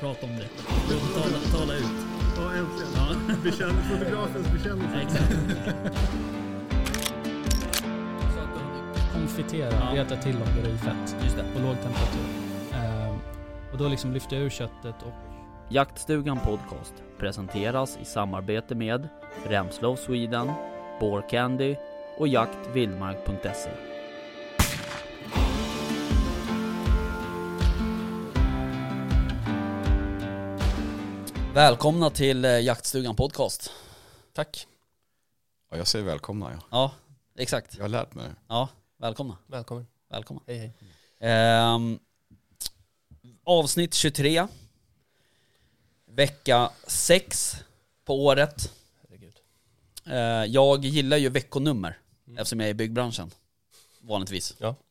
Prata om det. Tala, tala ut. Ja, äntligen. Ja. Bekänn, fotografens bekännelse. Exakt. Konfitera, Ja. veta till om det är i fett Just det. på låg temperatur. Ehm, och då liksom lyfter jag ur köttet och Jaktstugan Podcast presenteras i samarbete med Remslow Sweden, Candy och jaktvildmark.se. Välkomna till eh, Jaktstugan Podcast. Tack. Ja, jag säger välkomna. Ja. Ja, exakt. Jag har lärt mig. Ja, välkomna. Välkommen. Välkomna. Hej hej. Ehm, avsnitt 23. Vecka 6 på året. Herregud. Eh, jag gillar ju veckonummer eftersom jag är i byggbranschen. Vanligtvis. Mm. Ja.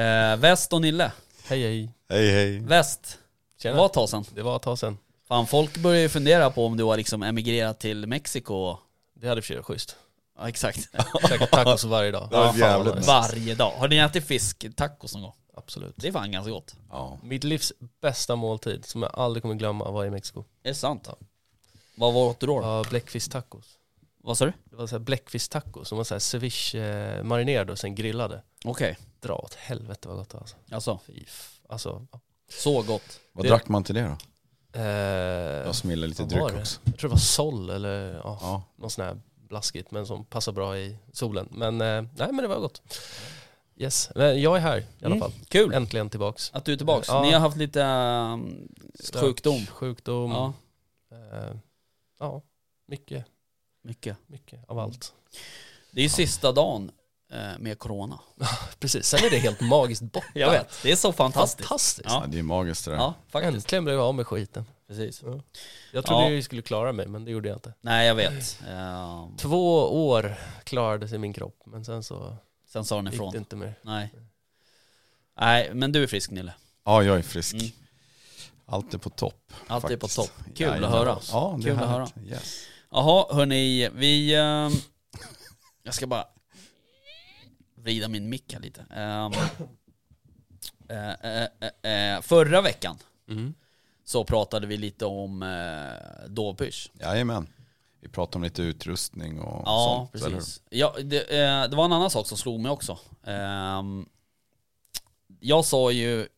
Eh, väst och Nille. Hej hej. Hej hej. Väst, det Tjena. var ett tag sedan. Det var ett tag sedan. Fan, folk börjar ju fundera på om du har liksom emigrerat till Mexiko. och- Det hade i och för sig varit schysst. Ja, exakt. Käka tacos varje dag. Det var fan, jävligt vad nice. Varje dag. Har ni ätit fisktacos någon gång? Absolut. Det är fan ganska gott. Ja. Mitt livs bästa måltid som jag aldrig kommer glömma var i Mexiko. Det är sant. Vad var åt du då? då? var bläckfisktacos. Vad sa du? Det var så här bläckfisktacos som var så här ceviche eh, marinerade och sen grillade. Okej, Dra åt helvete vad gott det var alltså. alltså Fy f- alltså. ja. så gott. Vad Det- drack man till det då? Eh, Jag som gillar lite vad dryck var det? också. Jag tror det var sol eller ja, Ja. någon sån här blaskigt men som passar bra i solen. Men eh, nej men det var gott. Yes, men jag är här i alla Mm. fall. Kul Äntligen tillbaks. att du är tillbaka. Ja. Ni har haft lite ehm, Stök, sjukdom. Sjukdom. Ja, Ja. Eh, ja, mycket, mycket. mycket av allt. Det är ju sista dagen eh, med corona. Precis, sen är det helt magiskt borta. det är så fantastiskt. Fantastiskt. Ja. Ja, det är magiskt det där. Ja, faktiskt. Äntligen blev jag av med skiten. Precis. Jag trodde Ja. jag skulle klara mig men det gjorde jag inte. Nej, jag vet. Ehm, Mm. Två år klarade sig min kropp men sen så sen sa den gick det ifrån. inte mer. Nej. Nej, men du är frisk Nille. Ja, jag är frisk. Mm. Allt är på topp. Allt är på faktiskt. topp. Kul Jajamän. att höra. Ja, det Kul är att höra. härligt. Yes. Jaha, hörni, vi... ehm, jag ska bara vrida min mick här lite. Ehm, eh, eh, eh, eh, förra veckan Mm. så pratade vi lite om eh, dovpysch. Jajamän. Vi pratar om lite utrustning och Ja, sånt. eller hur? precis. Ja, det, eh, det var en annan sak som slog mig också. Ehm, jag sa ju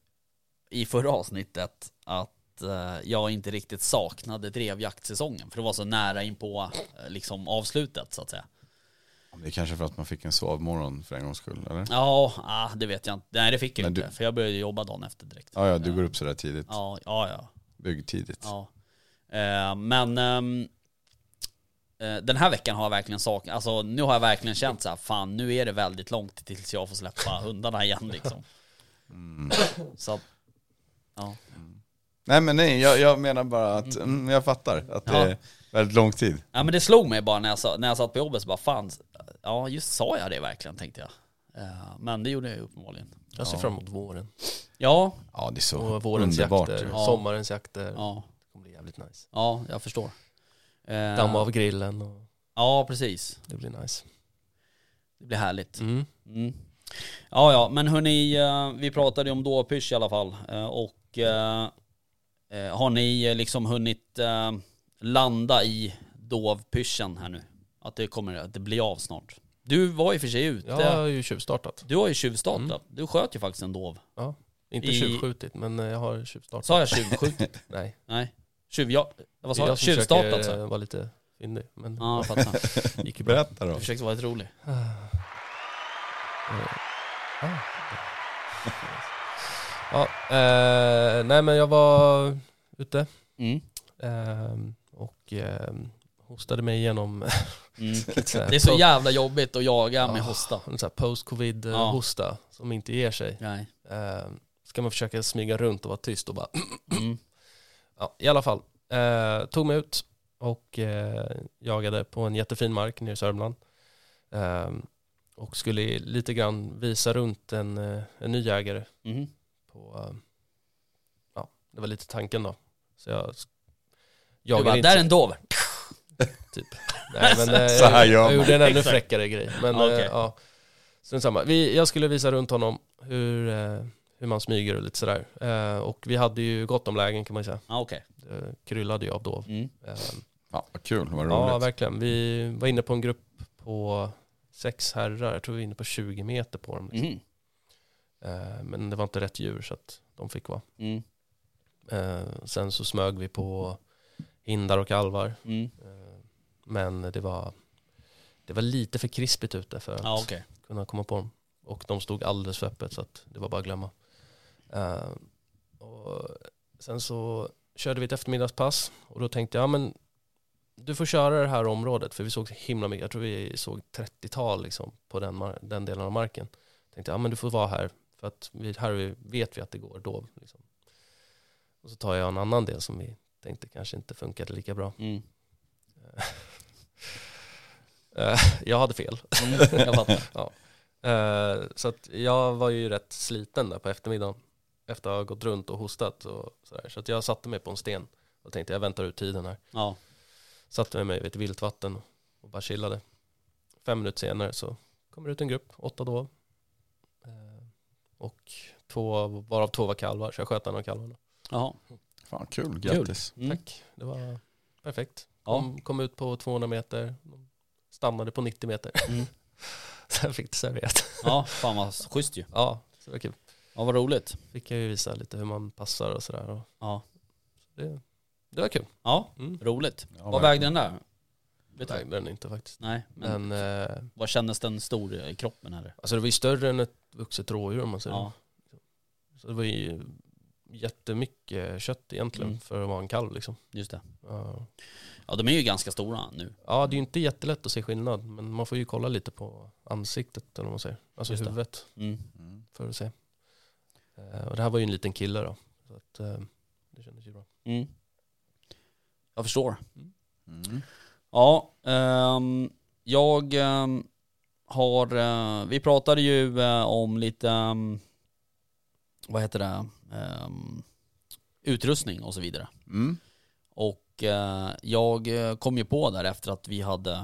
i förra avsnittet att eh, jag inte riktigt saknade drevjaktsäsongen, för det var så nära in på eh, liksom, avslutet så att säga. Det är kanske för att man fick en sovmorgon för en gångs skull, eller? Ja, ah, det vet jag inte. Nej det fick jag Men inte, du- för jag började jobba dagen efter direkt. Eh, Ja, ja, du går upp sådär tidigt. Ja, ja, ja. Byggtidigt. ja. Eh, men ehm, eh, den här veckan har jag verkligen saknat, alltså nu har jag verkligen känt så här, fan nu är det väldigt långt tills jag får släppa hundarna igen liksom. Så att, ja. Mm. Nej, men nej, jag, jag menar bara att mm, jag fattar att det Ja. är väldigt lång tid. ja, men det slog mig bara när jag, sa- när jag satt på jobbet, så bara fan, ja just sa jag det verkligen tänkte jag. Eh, men det gjorde jag ju uppenbarligen. Jag ser fram emot våren. Ja, Ja, det är så Och vårens underbart. jakter, Ja. sommarens jakter. ja, Det kommer bli jävligt nice. ja, jag förstår. Eh, Damma av grillen och Ja, precis. det blir nice. Det blir härligt. Mm. Ja, ja, men hörni, eh, vi pratade ju om dåpysch i alla fall. Eh, Och eh, eh, har ni eh, liksom hunnit eh, landa i dovpyschen här nu? Att det kommer, att det blir av snart. Du var ju för sig ute. Jag har ju tjuvstartat. Du har ju tjuvstartat. Du sköt ju faktiskt en dov. Inte I- tjuvskjutit men eh, jag har tjuvstartat. Sa jag tjuvskjutit? Nej. Nej. Tjuv, ja, vad Det sa är jag? som försöker, Tjuvstartat sa jag. eh, vara lite fyndig. Men Ja, jag fattar. det gick ju bra. Berätta då. Jag försökte vara lite rolig. Ja, eh, nej men jag var ute Mm. eh, och eh, hostade mig igenom Mm. lite så här Det är så po- jävla jobbigt att jaga med hosta. en så här post-covid eh, Ja. hosta som inte ger sig. Nej. Eh, ska man försöka smyga runt och vara tyst och bara Mm. Ja, i alla fall. Eh, tog mig ut och eh, jagade på en jättefin mark nere i Sörmland. Eh, och skulle lite grann visa runt en, eh, en ny jägare Mm. på, eh, ja, det var lite tanken då. Så jag sk- Du jagade bara, inte. där är en dov. Nej, men, eh, Så här gör jag, jag man. gjorde en ännu Exakt. fräckare grej. Men, Ja, okej. eh, ja. Strunt samma. Vi, jag skulle visa runt honom hur, eh, hur hur man smyger och lite sådär. Eh, och vi hade ju gott om lägen kan man ju säga. Ja, Ah, okej. Det kryllade ju av då. Mm. Eh, Fan vad kul, vad Ja, roligt. verkligen. Vi var inne på en grupp på sex herrar. Jag tror vi var inne på 20 meter på dem. Liksom. Mhm. Eh, Men det var inte rätt djur så att de fick vara. Mm. Eh, Sen så smög vi på hindar och kalvar. Mm. Eh, Men det var, det var lite för krispigt ute för att Ja, okej. kunna komma på dem. Och de stod alldeles för öppet så att det var bara att glömma. Eh, och sen så körde vi ett eftermiddagspass och då tänkte jag, ja, men du får köra det här området för vi såg så himla mycket, jag tror vi såg 30-tal liksom på den, mar- den delen av marken. Tänkte jag, ja men du får vara här för att vi, här vet vi att det går då. Liksom. Och så tar jag en annan del som vi tänkte kanske inte funkade lika bra. Mm. Eh, jag hade fel. Mm. Jag fattar. Eh, så att jag var ju rätt sliten där på eftermiddagen efter att ha gått runt och hostat och sådär. Så att jag satte mig på en sten och tänkte jag väntar ut tiden här. Ja. Satte mig vid ett viltvatten och bara chillade. Fem minuter senare så kommer det ut en grupp, åtta då. Eh, och två, varav två var kalvar, så jag sköt en av kalvarna. Jaha. Fan kul, grattis. Mm. Tack, det var perfekt. Ja. De kom ut på 200 meter, de stannade på 90 meter. Mm. Sen fick det serverat. Ja, fan vad schysst ju. Ja, så det var kul. Ja, vad roligt. fick jag ju visa lite hur man passar och sådär. Och Ja. det, det var kul. Ja, Mm. roligt. Ja, vad verkligen. vägde den där? Vet du? Nej, den inte faktiskt. Nej, men Men eh, vad kändes den stor i kroppen eller? alltså det var ju större än ett vuxet rådjur om man säger Ja. så. Det var ju jättemycket kött egentligen Mm. för att vara en kalv liksom. Just det. Ja. Ja, de är ju ganska stora nu. Ja, det är ju inte jättelätt att se skillnad, men man får ju kolla lite på ansiktet eller vad man säger. Alltså Just det. huvudet Mm. Mm. för att se. Eh, och det här var ju en liten kille då. Så att, eh, det kändes ju bra. Mm. Jag förstår. Mm. Ja, ehm, jag ehm, har, eh, vi pratade ju eh, om lite, ehm, vad heter det, Ehm, utrustning och så vidare. Mm. Och eh, jag eh, kom ju på där efter att vi hade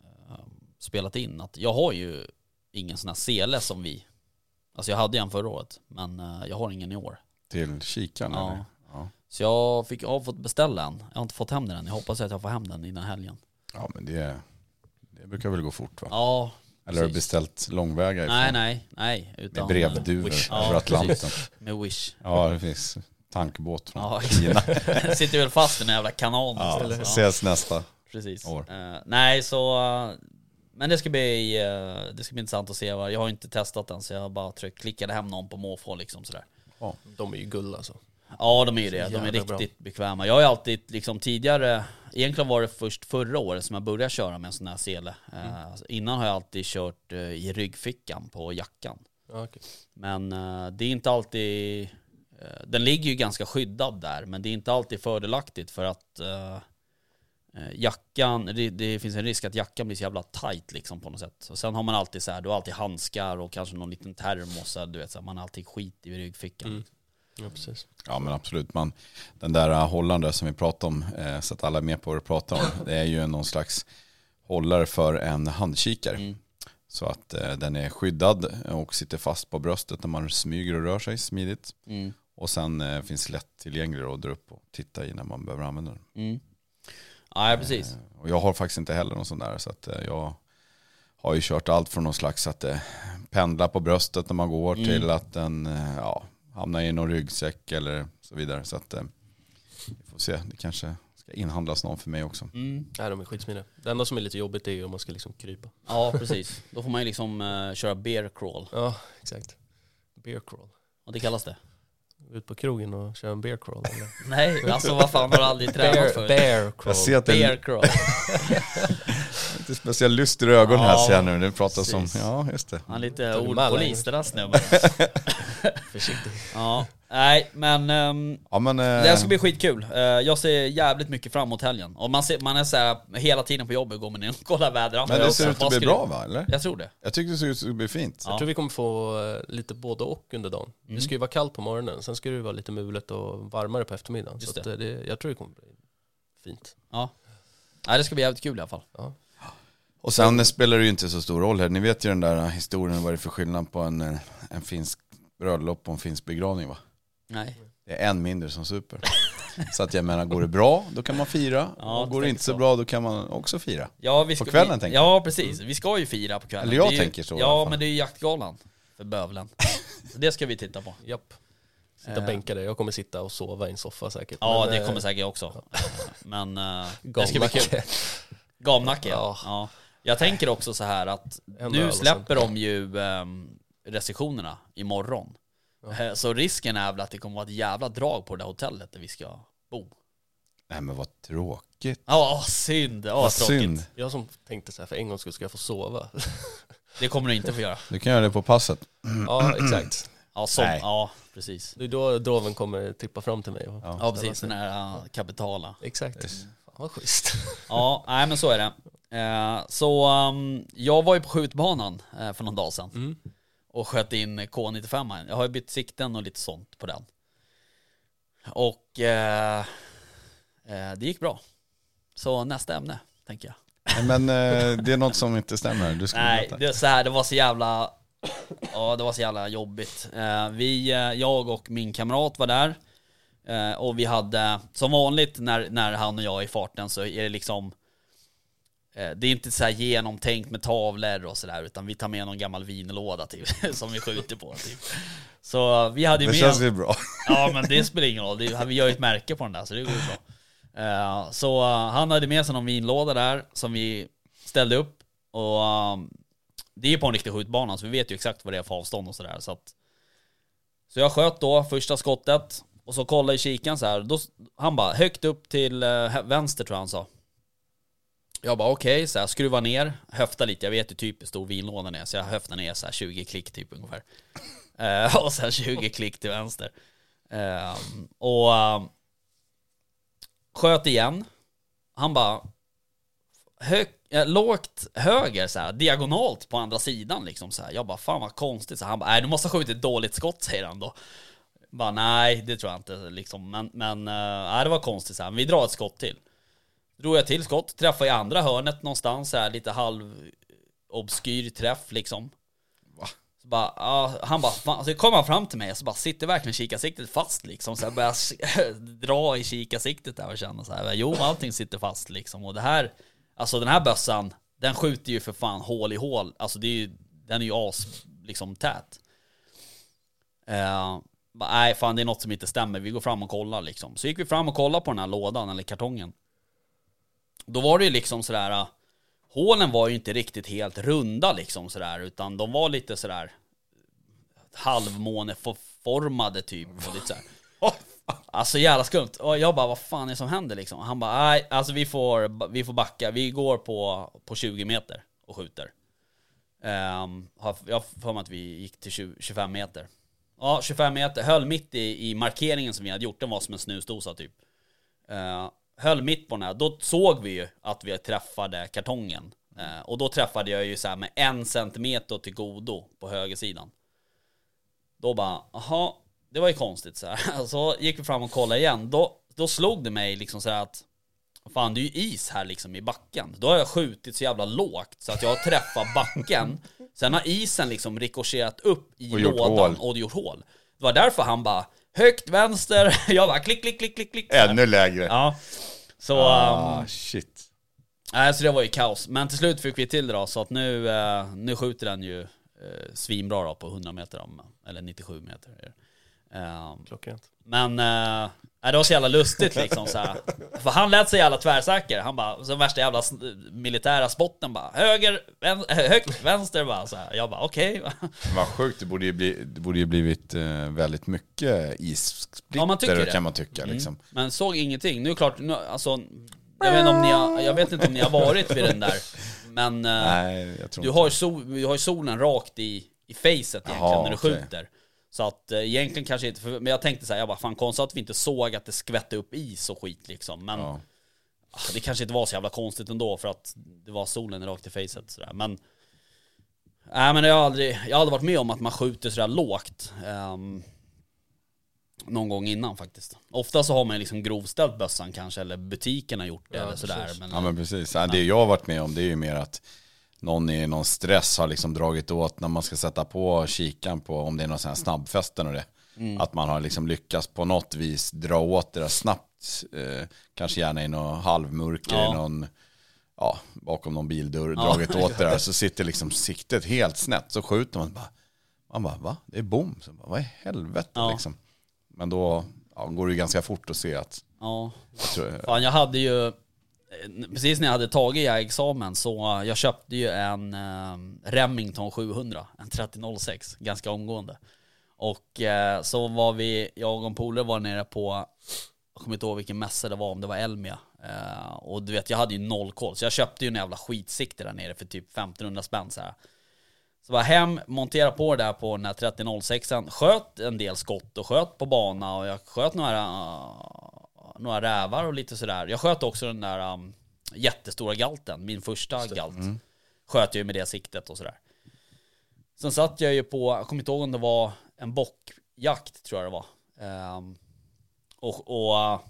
eh, spelat in att jag har ju ingen sån här sele som vi, alltså jag hade en förra året men eh, jag har ingen i år. Till kikan Ja. eller? Ja. Så jag, fick, jag har fått beställa en, jag har inte fått hem den än, jag hoppas att jag får hem den innan helgen. ja, men det, det brukar väl gå fort va? Ja, eller har du precis. beställt långvägar ifrån? nej nej, nej. Med Utan, eh, brevduvor Wish. över Ja, Atlanten. precis. Med Wish. Ja, det finns tankbåt från Ja. Kina. Den sitter väl fast i den jävla kanalen Ja, istället. Ja, ses nästa. precis. år. Eh, nej, så... eh, men det ska, bli, eh, det ska bli intressant att se. vad- Jag har ju inte testat den, så jag bara tryck, klickade hem någon på måfå liksom sådär. De är ju guld alltså. Ja, de är ju det. Så De är jävla bra. riktigt bekväma. Jag har ju alltid liksom tidigare, egentligen var det först förra året som jag började köra med en sån här sele. Eh, Mm. alltså, innan har jag alltid kört eh, i ryggfickan på jackan. Ja, okej. Men eh, det är inte alltid... eh, Den ligger ju ganska skyddad där, men det är inte alltid fördelaktigt för att eh, eh, jackan, det, det finns en risk att jackan blir så jävla tight liksom på något sätt. Och sen har man alltid så här, du har alltid handskar och kanske någon liten termos, så här, du vet, så här, man har alltid skit i ryggfickan. Mm. ja precis. Ja men absolut, man, den där eh, hållaren där som vi pratade om, eh, så att alla är med på vad du pratar om, det är ju någon slags hållare för en handkikare. Mm. Så att eh, den är skyddad och sitter fast på bröstet när man smyger och rör sig smidigt. Mm. Och sen eh, finns lättillgänglig att dra upp och titta i när man behöver använda den. Mm. Ja, precis. Eh, Och jag har faktiskt inte heller någon sån där så att eh, jag har ju kört allt från någon slags att eh, pendla på bröstet när man går Mm. till att den eh, ja, hamnar i någon ryggsäck eller så vidare. Så att eh, vi får se, det kanske ska inhandlas någon för mig också. Mm. Nej de är skitsmidiga. Det enda som är lite jobbigt är ju om man ska liksom krypa. Ja, precis. Då får man ju liksom eh, köra bear crawl. Ja exakt. Beer crawl. Och det kallas det. Ut på krogen och köra en beer crawl. Eller? Nej, alltså vad fan har du aldrig tränat bear, för? bear crawl. Jag ser att det Bear är crawl. lite speciell lyster i ögonen här Ja, ser jag nu. Det pratas om, precis. ja just det. Han är lite Tog en mall, ordpolis den där snubben. Försiktig. Ja, nej men ehm, Ja, men, eh, det här ska bli skitkul. Eh, jag ser jävligt mycket fram emot helgen. Och man, ser, man är så här, hela tiden på jobbet går man in och kollar vädret. men det Och ser så, ut vad att bli ska bra du- va? Eller? Jag tror det. Jag tyckte det såg ut att det skulle bli fint. Ja. Jag tror vi kommer få eh, lite både och under dagen. Mm. Det ska ju vara kallt på morgonen, sen ska det ju vara lite mulet och varmare på eftermiddagen. Just så att, eh, det, jag tror det kommer bli fint. Ja. Nej det ska bli jävligt kul i alla fall. Och sen spelar det ju inte så stor roll här. Ni vet ju den där historien vad det är för skillnad på en, en finsk bröllop och en finsk begravning va? Nej. Det är en mindre som super. så att jag menar, går det bra då kan man fira. Ja, och går det tänk inte så så. bra då kan man också fira. Ja, vi På ska, kvällen, vi, tänker Mm. Ja, precis. Vi ska ju fira på kvällen. Eller jag Det är ju, tänker så i alla Ja, fall. men det är ju jaktgalan för bövlen. Så det ska vi titta på. Japp. Sitta Eh. och bänka dig. Jag kommer sitta och sova i en soffa säkert. Ja, Men, det eh, kommer säkert jag också. Men eh, det ska bli gamnacke. kul. Gamnacke, ja. Ja. ja. Jag tänker också så här att öl nu och liksom. släpper de ju ehm, restriktionerna imorgon. Eh, Så risken är väl att det kommer vara ett jävla drag på det där hotellet där vi ska bo. Nej men vad tråkigt. Ja, ah, synd. Ja, vad tråkigt. synd. Jag som tänkte så här, för en gång skulle ska jag få sova. Det kommer du inte få göra. Du kan göra det på passet. Mm. ja, exakt. Ja, som, Nej. ja precis. Det är då droven kommer tippa fram till mig. Och, Ja. Ja, precis. Den här eh, kapitala. Exakt. Yes. Fan vad schysst. Ja, nej men så är det. Eh, Så ehm, jag var ju på skjutbanan eh, för någon dag sedan och sköt in K95. -an. Jag har ju bytt sikten och lite sånt på den. Och eh, eh, det gick bra. Så nästa ämne, tänker jag. Nej, Men eh, det är något som inte stämmer. Du skulle Nej, veta. det, är så här, det var så jävla Ja, det var så jävla jobbigt. Eh, vi, eh, jag och min kamrat var där. Eh, och vi hade, som vanligt när, när han och jag är i farten så är det liksom eh, Det är inte så här genomtänkt med tavlor och sådär utan vi tar med någon gammal vinlåda typ, som vi skjuter på typ. Så vi hade ju Det med känns ju bra. Ja men det spelar ingen roll, det, vi gör ju ett märke på den där så det går ju bra. Eh, så eh, han hade med sig någon vinlåda där som vi ställde upp och eh, det är ju på en riktig skjutbana så vi vet ju exakt vad det är för avstånd och sådär så att Så jag sköt då första skottet och så kollade i kikaren så här. Då, s- han bara högt upp till eh, hä- vänster tror jag han sa. Jag bara okej, så här, skruva ner, höfta lite. Jag vet ju typ hur stor vinlådan är så jag höftar ner så här 20 klick typ ungefär. Eh, och sen 20 klick till vänster. Ehm, och ehm, sköt igen. Han bara hög, eh, lågt höger så här, diagonalt på andra sidan liksom så här. Jag bara fan vad konstigt. Så här, han bara nej du måste ha skjutit ett dåligt skott säger han då. Bara nej det tror jag inte liksom. Men, men eh, nej, det var konstigt så här. Men vi drar ett skott till. Drog jag till skott, träffade i andra hörnet någonstans så här lite halv obskyr träff liksom. Så bara, ja, han bara, fan, så kom han fram till mig och så bara sitter verkligen kikarsiktet fast liksom. Så jag börjar s- dra i kikarsiktet där och känna så här, jo allting sitter fast liksom. Och det här, alltså den här bössan, den skjuter ju för fan hål i hål. Alltså det är ju, den är ju as, liksom tät. Eh, bara, nej fan det är något som inte stämmer, vi går fram och kollar liksom. Så gick vi fram och kollade på den här lådan eller kartongen. Då var det ju liksom sådär, eh, hålen var ju inte riktigt helt runda liksom sådär, utan de var lite sådär halvmåneformade typ. Och lite sådär. Alltså jävla skumt. Och jag bara, vad fan är det som händer liksom? Han bara, nej, alltså vi får, vi får backa. Vi går på, på 20 meter och skjuter. Ehm, har- jag har för mig att vi gick till 20, 25 meter. Ja, 25 meter. Höll mitt i, i markeringen som vi hade gjort. Den var som en snusdosa typ. Eh, höll mitt på den här. Då såg vi ju att vi träffade kartongen. Eh, och då träffade jag ju så här med en centimeter till godo på högersidan. Då bara, aha, det var ju konstigt så här. Så gick vi fram och kollade igen. Då, då slog det mig liksom så här att Fan det är ju is här liksom i backen. Då har jag skjutit så jävla lågt så att jag har träffat backen. Sen har isen liksom rikoscherat upp i Och gjort lådan hål. och gjort hål. Det var därför han bara högt vänster, jag bara klick klick klick klick klick. så här. Ännu lägre. Ja. Så, ehm, Ah, shit. nej, så det var ju kaos. Men till slut fick vi till det då, så att nu, eh, nu skjuter den ju eh, svinbra då på 100 meter, om, eller 97 meter. är det. Ehm, Klockrent. men eh, nej, det var så jävla lustigt liksom så här. För han lät så jävla tvärsäker. Han bara, som värsta jävla s- militära spotten bara, höger, vän, högt, vänster bara så här. Jag bara okej. Vad sjukt, det borde ju, bli, det borde ju blivit eh, väldigt mycket issplitter Ja, man tycker det. Mm. kan man tycka. Liksom. Men såg ingenting. Nu är klart, nu, alltså, jag vet, inte om ni har, jag vet inte om ni har varit vid den där. Men eh, Nej, jag tror Du inte. har, ju sol, du har ju solen rakt i, i facet egentligen Jaha, när du okej. skjuter. Så att eh, egentligen kanske inte, för, men jag tänkte så här, jag bara fan konstigt att vi inte såg att det skvätte upp is och skit liksom. Men Ja. ah, det kanske inte var så jävla konstigt ändå för att det var solen rakt i facet sådär. Men, nej men jag har aldrig, jag har aldrig varit med om att man skjuter sådär lågt. ehm, någon gång innan faktiskt. Ofta så har man ju liksom grovställt bössan kanske, eller butiken har gjort det eller sådär. Men, ja, men precis. Ja, det jag har varit med om det är ju mer att någon i någon stress har liksom dragit åt när man ska sätta på kikan på om det är någon sån här snabbfesten och det. Mm. Att man har liksom lyckats på något vis dra åt det där snabbt. Eh, kanske gärna i någon halvmörker, Ja. i någon, ja, bakom någon bildörr, dragit åt det där. Så sitter liksom siktet helt snett, så skjuter man bara. Man bara, va? Det är bom. Så bara, Vad i helvete Ja. liksom. Men då ja, går det ju ganska fort att se att, Ja. jag tror, Fan jag hade ju, eh, precis när jag hade tagit jägarexamen så eh, jag köpte ju en eh, Remington 700, en 3006, ganska omgående. Och eh, så var vi, jag och en polare var nere på, jag kommer inte ihåg vilken mässa det var, om det var Elmia. Eh, och du vet jag hade ju noll koll, så jag köpte ju en jävla skitsikte där nere för typ 1500 spänn så här. Så var jag hem, monterade på det där på den här 3006an, sköt en del skott och sköt på bana och jag sköt några, eh, några rävar och lite sådär. Jag sköt också den där um, jättestora galten, min första galt. Sköt jag ju med det siktet och sådär. Sen satt jag ju på, jag kommer inte ihåg om det var en bockjakt tror jag det var. Ehm, och och eh,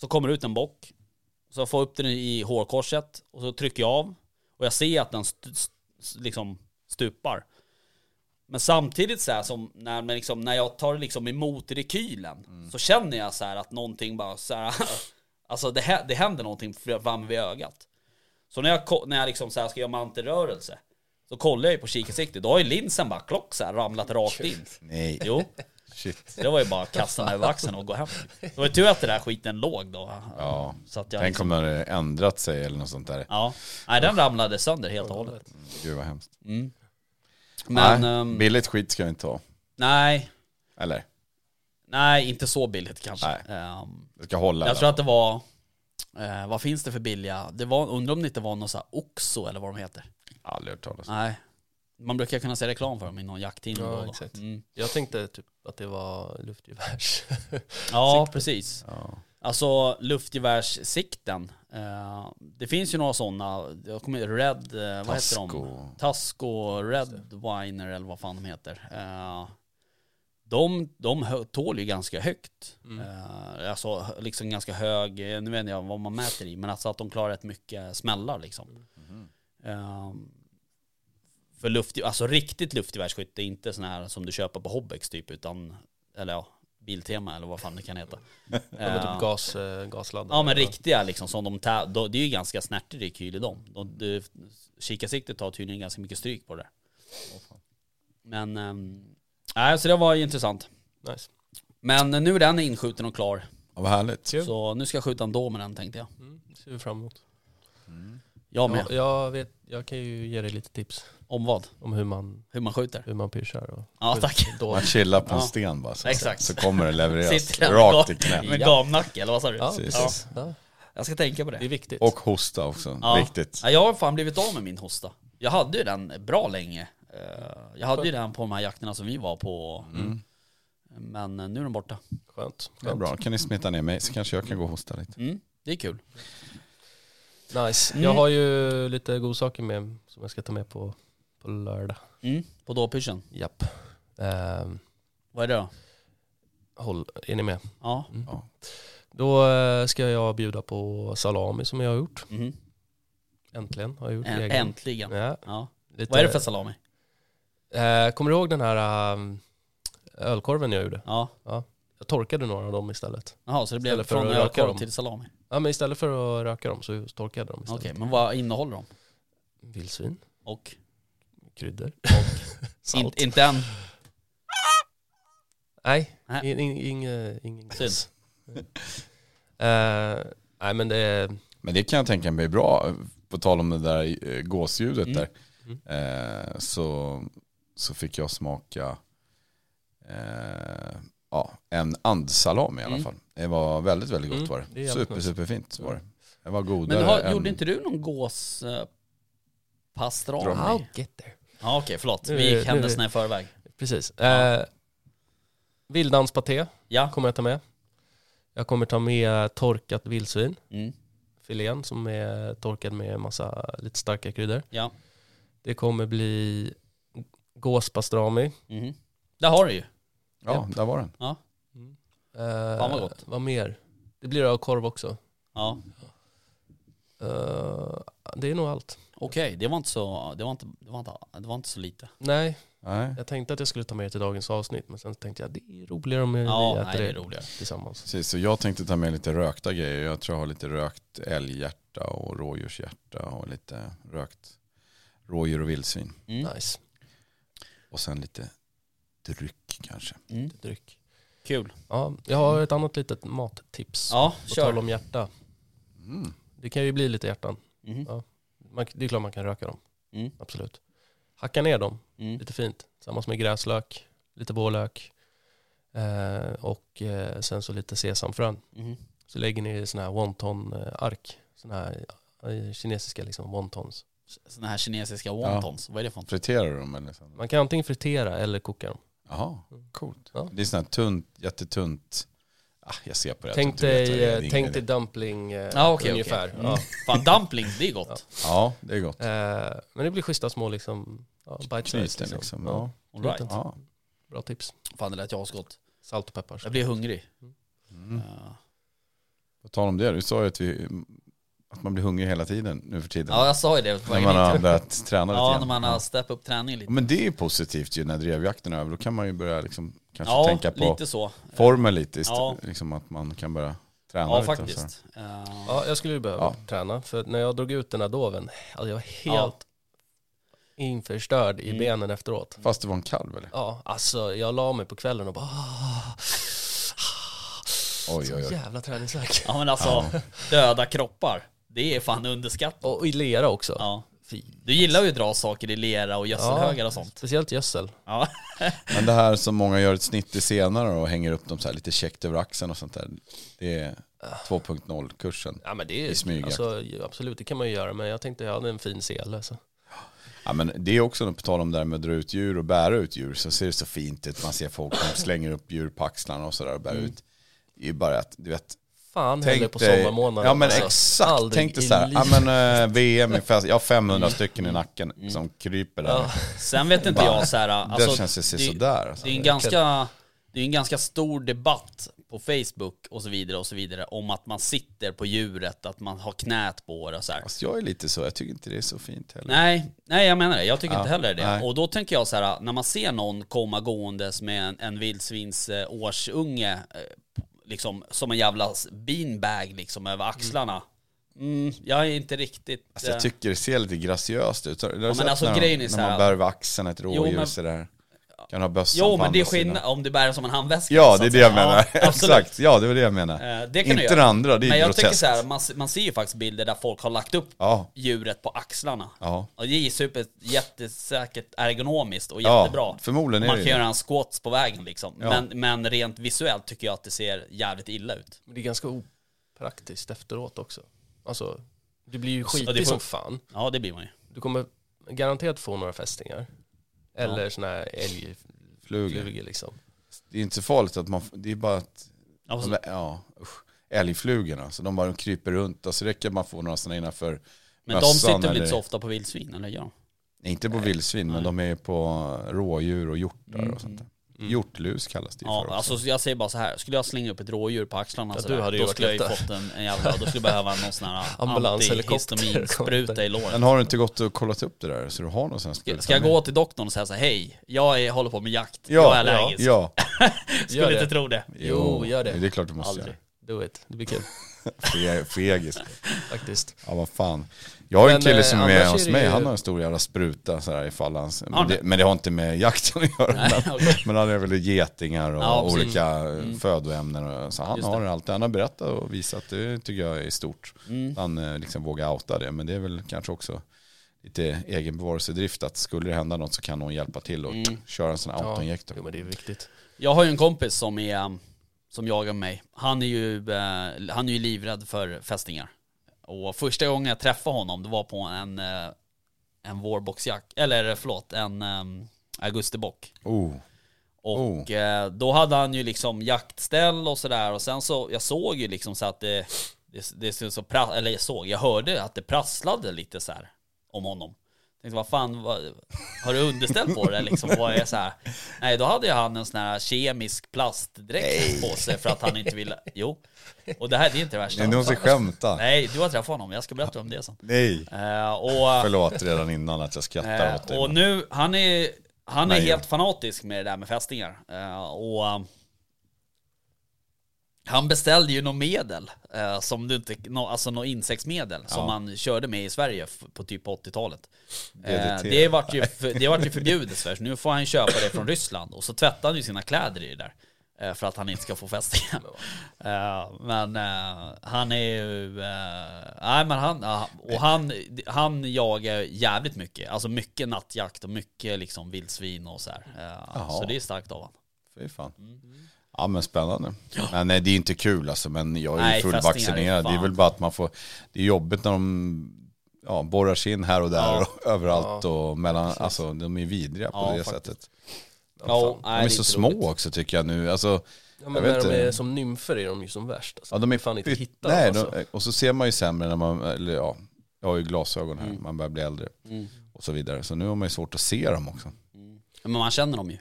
så kommer det ut en bock. Så jag får upp den i hårkorset och så trycker jag av. Och jag ser att den st- st- liksom stupar. Men samtidigt så här som när, men liksom, när jag tar liksom emot rekylen så känner jag så här att någonting bara så här. alltså det, hä- det händer någonting fram vid ögat. Så när jag, ko- när jag liksom så här ska göra mantelrörelse så kollar jag ju på kikarsiktet. Då har ju linsen bara klock så här ramlat rakt in. nej, Jo, shit. det var ju bara att kasta mig över axeln och gå hem. Det var ju tur att den där skiten låg då. Ja. Så att jag Tänk liksom, om det hade ändrat sig eller något sånt där. ja. Nej, den ramlade sönder helt och hållet. Gud vad hemskt. Men nej, ehm, billigt skit ska vi inte ha. nej, Eller, nej, inte så billigt kanske. Nej. Ehm, det ska hålla. Jag tror att det var, eh, vad finns det för billiga? Det var, undrar om det inte var någon sån här Oxo eller vad de heter. Aldrig hört talas om. Nej. Man brukar kunna se reklam för dem i någon jakttidning. Ja, då och då. exakt. Mm. Jag tänkte typ att det var luftgevärs. ja precis. Ja. Alltså luftgevärssikten. Eh, det finns ju några sådana, jag kommer Red, eh, vad heter de? Tasko. Tasco, Red Winer eller vad fan de heter. Eh, de, de hö- tål ju ganska högt. Mm. Eh, alltså liksom ganska hög, eh, nu vet jag vad man mäter i, men alltså att de klarar rätt mycket smällar liksom. Mm. Eh, för luft, alltså riktigt luftgevärsskytte, inte sån här som du köper på Hobbex typ, utan, eller ja, Biltema eller vad fan det kan heta. Ja, men Eh, typ gas, eh, gasladdare. Ja men riktiga liksom som de tä- då, det är ju ganska snärtig rekyl i dem. De, de, kikarsiktet tar tydligen ganska mycket stryk på det där. Men, ehm, nej så det var ju intressant. Nice. Men nu är den inskjuten och klar. Ja, vad härligt. Kul. Så nu ska jag skjuta en då med den tänkte jag. Mm, det ser vi fram emot. Jag med. Ja, jag, vet, jag kan ju ge dig lite tips Om vad? om hur man, Hur man skjuter? hur man pyschar. Och Ja skjuter tack. Då. Man chillar på en Ja. sten bara. Så, Exakt. så kommer det levereras. Sitter där Rakt i med- knät. Med Ja. gamnacke eller vad sa du? Ja, Precis. precis. Ja. Jag ska tänka på det. Det är viktigt. Och hosta också. Ja. Viktigt. Ja, jag har fan blivit av med min hosta. Jag hade ju den bra länge. Eh, Jag hade ju den på de här jakterna som vi var på. Mm. Men eh, nu är den borta. Skönt. Mm. Det är Skönt. bra. Kan ni smitta ner mig så kanske jag kan gå och hosta lite. Mm. Det är kul. Nice. Mm. Jag har ju lite godsaker med som jag ska ta med på, på lördag. Mm. På dåpyschen. Japp. Ehm, Vad är det då? håll, är ni med? Mm. Ja. Då eh, ska jag bjuda på salami som jag har gjort. Mhm. Äntligen har jag gjort Ä- egen. Äntligen. Ja, Ja. lite, Vad är det för salami? Eh, kommer du ihåg den här ehm, ölkorven jag gjorde? Ja. Jag torkade några av dem istället. Jaha, så det blev Istället för från att röka ölkorv dem. till salami. Ja, men istället för att röka dem så torkade jag dem Okej, istället. men vad innehåller de? Vildsvin, Och? kryddor, In, salt. inte än. Nej, Nej. in, in, ing- ingen Synd. gräs. Eh, nej men det är Men det kan jag tänka mig är bra. På tal om det där eh, gåsljudet Mm. där. Eh, så, så fick jag smaka eh, ja, en andsalami i alla Mm. fall. Det var väldigt, väldigt gott Mm, var det är det. jävligt Super, nice. superfint var det. Det var godare Men har, än... gjorde inte du någon gås... eh, Pastrami? Dröm. get there. Ja okej, förlåt. Nu Vi är- gick nu är- händelserna i förväg. Precis. Ja. Eh, Vilddanspaté Ja. kommer jag ta med. Jag kommer ta med torkat vildsvin, Mm. filén som är torkad med massa lite starka kryddor. Ja. Det kommer bli gåspastrami. Mhm. Där har du ju. Ja, där var den. Eh, Mm. Fan, vad gott. Vad mer? Det blir korv också. Ja. Eh, det är nog allt. Okej, det var inte så, det var inte, det var inte, det var inte så lite. Nej, Nej. jag tänkte att jag skulle ta med det till dagens avsnitt men sen tänkte jag det är roligare om Ja, vi äter nej, det är roligare. tillsammans. Precis, så jag tänkte ta med lite rökta grejer. Jag tror jag har lite rökt älghjärta och rådjurshjärta och lite rökt rådjur och vildsvin. Mm. Nice, Och sen lite dryck kanske. Mm. dryck. Kul. Ja, jag har ett annat litet mattips. Ja, På tal kör. om hjärta. Mm. Det kan ju bli lite hjärtan. Mm. Man, det är klart man kan röka dem. Mm. Absolut. Hacka ner dem Mm. lite fint. Tillsammans med gräslök, lite vårlök eh, och eh, sen så lite sesamfrön. Mm. Så lägger ni i såna här wonton-ark. Såna här eh, kinesiska liksom wontons. Såna här kinesiska wontons, vad är det för något? Friterar du dem eller? så? Man kan antingen fritera eller koka dem. Jaha, coolt. Ja. Det är sånt här tunt, jättetunt. Ah, jag ser på det. tänk Jag tror inte du dig, vet vad det är. eh, tänk dig Det- dumpling eh, Ja, okej, Mm. ungefär. okej. Ja. Fan dumplings, det är gott. Ja, det är gott. Eh, men det blir schyssta små liksom, ja, bite size, Knyten liksom. Ja. All right. Liten. Ja. Bra tips. Fan det lät jag asgott. Salt och peppar. Jag blir hungrig. Mm. Ja. På tal om det, du sa ju att, vi, att man blir hungrig hela tiden nu för tiden. Ja jag sa ju det på när vägen man har hit. börjat träna lite Ja grann. när man har steppat upp träningen Ja, lite. Men det är ju positivt ju när drevjakten är över. Då kan man ju börja liksom, kanske Ja tänka på lite så. formen lite. Istället, Ja. liksom att man kan börja träna Ja lite. och liksom, så. faktiskt. Eh, Ja, jag skulle ju behöva Ja. träna. För när jag drog ut den här doven, alltså jag var helt Ja. införstörd i Mm. benen efteråt. Fast det var en kalv eller? Ja, alltså jag la mig på kvällen och bara "Ah, Oj, oj, Så oj. jävla träningsvärk. Ja men alltså, döda kroppar. Det är fan underskattat. Och, och i lera också. Ja. Fy. Du gillar ju att dra saker i lera och gödselhögar och sånt. Speciellt gödsel. Ja. Men det här som många gör ett snitt i senare och hänger upp dem så här lite käckt över axeln och sånt där. Det är Ah. 2.0-kursen. Ja men det I är smyg, alltså, ju- absolut det kan man ju göra men jag tänkte jag hade en fin sele så. Ja, men det är också, på tal om det här med att dra ut djur och bära ut djur, så ser det så fint ut. Man ser folk som slänger upp djur på axlarna och sådär och Mm. bär ut. Det är ju bara att, du vet, Fan Tänk heller på dig- sommarmånaden. Ja men alltså. exakt, Aldrig tänk dig i så här, ja, livet. men, eh, VM i fest, jag Mm. har 500 stycken i nacken som kryper där. Ja. Sen vet inte jag så här, alltså, det känns ju det- sisådär. Alltså. Det är en ganska, det är en ganska stor debatt på Facebook och så vidare och så vidare om att man sitter på djuret, att man har knät på det och så här. Fast jag är lite så, jag tycker inte det är så fint heller. Nej, nej jag menar det. Jag tycker Ja, inte heller det. nej. Och då tänker jag så här, när man ser någon komma gåendes med en, en vildsvins eh, årsunge, eh, liksom som en jävla s- beanbag liksom över axlarna. Mm, jag är inte riktigt... Alltså, jag eh, tycker det ser lite graciöst ut. Ja, men alltså, när, de- grejen är så när man här- bär över axeln ett rådjur men- sådär. Kan ha bössan på jo men det är andra sidan. skillnad om du bär den som en handväska. Ja så det är att det säga. jag menar. Ja, absolut. exakt, ja det var det jag menar. Eh, det kan du inte göra. det andra, det är Men jag groteskt. tycker så här, man, se- man ser ju faktiskt bilder där folk har lagt upp Ja, djuret på axlarna. ja. Och det är ju super, jättesäkert ergonomiskt och Ja, jättebra. förmodligen är Man det kan ju det. göra en squats på vägen liksom. Ja. Men, men rent visuellt tycker jag att det ser jävligt illa ut. Men det är ganska opraktiskt efteråt också. Alltså du blir ju Ja, skitig det får- som fan. Ja det blir man ju. Du kommer garanterat få några fästingar. Eller sådana här älgflugor Flugor. liksom. Det är inte så farligt att man, det är bara att Ja, De så- där- Ja, usch. Älgflugorna, så de bara kryper runt och så räcker man få några sådana innanför men de sitter mössan väl eller- inte så ofta på vildsvin eller gör de? Nej, Inte på vildsvin, men de är på rådjur och hjortar och sånt där. Hjortlus kallas det ju Mm. Ja, för också. alltså jag säger bara så här. skulle jag slänga upp ett rådjur på axlarna Ja, sådär, du hade ju då varit skulle jag ju lättare. fått en, en jävla, då skulle jag behöva någon sån här Ambulanshelikopter. antihistaminspruta i låret. Men har du inte gått och kollat upp det där så du har någon sån här spruta Ska jag med? gå till doktorn och säga så här, hej, jag är, håller på med jakt, Ja, jag är allergisk. Ja, Skulle det. inte tro det. Jo, gör det. Det är klart du måste Aldrig. Do it. Det blir kul göra. Fe- Fegis. faktiskt. Ja vad fan. Jag har ju en Men, kille eh, som är med annars hos är det mig, ju- han har en stor jävla spruta så här ifall han... Har Men ni? det, men det har inte med jakten att göra. men- okej. Men han är väl getingar och Ja, precis. olika födoämnen. Och, så han Just har allt. Han har berättat och visat. Det tycker jag är stort. Mm. Han eh, liksom vågar outa det. Men det är väl kanske också lite egen bevarelsedrift. Att skulle det hända något så kan någon hjälpa till och köra en sån här autoinjektor. Jo men det är viktigt. Jag har ju en kompis som är um, som jagar mig. Han är ju, eh, han är ju livrädd för fästingar. Och första gången jag träffade honom, det var på en, eh, en vårboxjakt, eller förlåt, en um, augustibock. Oh. Och Oh. eh, då hade han ju liksom jaktställ och sådär och sen så, jag såg ju liksom så att det, det, det såg så pra, eller jag såg, jag hörde att det prasslade lite så här om honom. Tänkte vad fan, vad, har du underställt på det liksom? Vad är så här? Nej, då hade ju han en sån här kemisk plastdräkt på sig för att han inte ville... Jo. Och det här det är inte det värsta. Nej, nu måste jag skämta. Nej, du har träffat honom. Jag ska berätta om det sen. Nej. Eh, och, Förlåt redan innan att jag skrattar åt Eh, dig. och men- nu, han är, han är Nej, helt fanatisk med det där med fästingar. Eh, och eh, han beställde ju något medel, eh, som du inte, nå- alltså något insektsmedel som han körde med i Sverige f- på typ 80-talet. Eh, DDT. det vart ju, för, det vart ju förbjudet i Sverige, så nu får han köpa det från Ryssland. Och så tvättar han ju sina kläder i det där. eh, För att han inte ska få fästingar. Eh, Men eh, han är ju... eh, Nej men han... ja, Och han, han jagar jävligt mycket. Alltså mycket nattjakt och mycket liksom vildsvin och så här. Eh, Så det är starkt av honom. Fy fan. Mm. Ja men spännande. Men nej, det är inte kul alltså, men jag är Nej, ju fästingar är fullvaccinerad. Det är fan. väl bara att man får, det är jobbigt när de ja, borrar sig in här och där Ja. och överallt och mellan, alltså de är vidriga på Ja, det faktiskt. sättet. Ja, De är så små också tycker jag nu, alltså Ja, men Jag när vet de inte. är som nymfer är de ju som värst. Alltså. Ja, de är fan inte pytt- hitta Nej, dem, alltså. de, och så ser man ju sämre när man, eller ja, jag har ju glasögon här, Mm. man börjar bli äldre och så vidare. Så nu har man ju svårt att se dem också. Men man känner dem ju.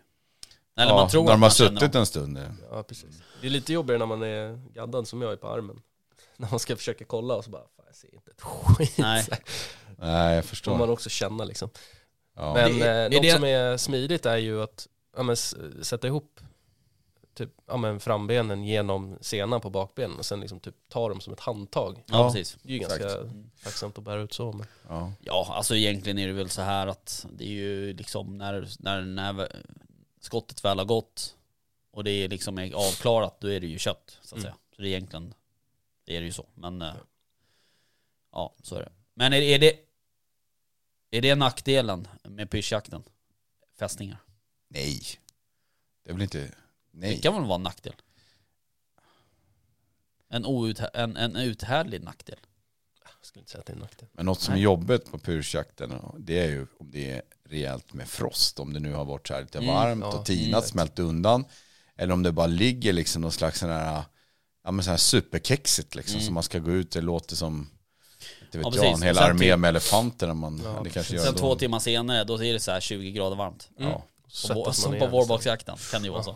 Eller ja, man tror när att de har man känner suttit dem. en stund. eh, Ja, precis. Det är lite jobbigare när man är gaddad som jag är på armen. När man ska försöka kolla och så bara, fan, jag ser inte ett skit. Nej. Så här Nej, jag Får förstår. man också känna liksom. Ja. Men Det- är eh, något det- som är smidigt är ju att ja, men, s- sätta ihop typ, ja, men, frambenen genom senan på bakbenen och sen liksom, typ, ta dem som ett handtag. Ja, precis. Det är ju ganska tacksamt att bära ut så. Men... ja. Ja, alltså egentligen är det väl så här att det är ju liksom när, när, när skottet väl har gått och det är liksom är avklarat, då är det ju kött så att Mm. säga. Så det är egentligen, det är det ju så. Men eh, ja, så är det. Men är, är det, är det nackdelen med pyrschjakten? Fästingar? Nej, det är väl inte, Det nej. kan väl vara en nackdel? En, out, en, en uthärdlig nackdel? Jag skulle inte säga att det är en nackdel. Men något som Nej. är jobbigt på pyrschjakten, det är ju om det är rejält med frost. Om det nu har varit så här lite Mm, varmt ja, och tinat, givet. smält undan. Eller om det bara ligger liksom någon slags sån här, ja men sån här superkexigt liksom. Mm. Som man ska gå ut, det låter som, inte Ja, vet jag, precis. en hel Sen armé till- med elefanter. När man, Ja, det kanske precis. gör Sen då. två timmar senare, då är det så här 20 grader varmt. Mm. Ja. Som, vår, alltså. Sättas man som på igen istället. vårboxjakten kan det ju vara så.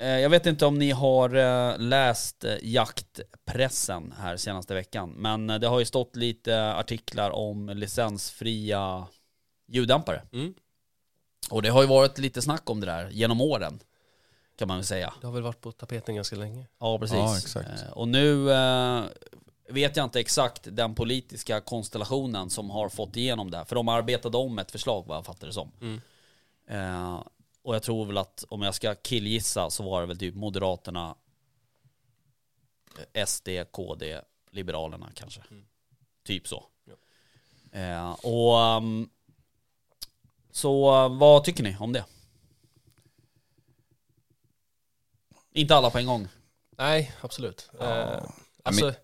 Eh, Jag vet inte om ni har eh, läst eh, jaktpressen här senaste veckan, men eh, det har ju stått lite artiklar om licensfria ljuddämpare. Mm. Och det har ju varit lite snack om det där genom åren, kan man väl säga. Det har väl varit på tapeten ganska länge. Ja, precis. Ja, exakt. Eh, Och nu eh, vet jag inte exakt den politiska konstellationen som har fått igenom det här. För de arbetade om ett förslag vad jag fattar det som. Mm. Eh, och jag tror väl att om jag ska killgissa så var det väl typ Moderaterna, eh, SD, KD, Liberalerna kanske. Typ så. Ja. Eh, och ehm, så eh, vad tycker ni om det? Inte alla på en gång. Nej, absolut. Eh, men- alltså, Säg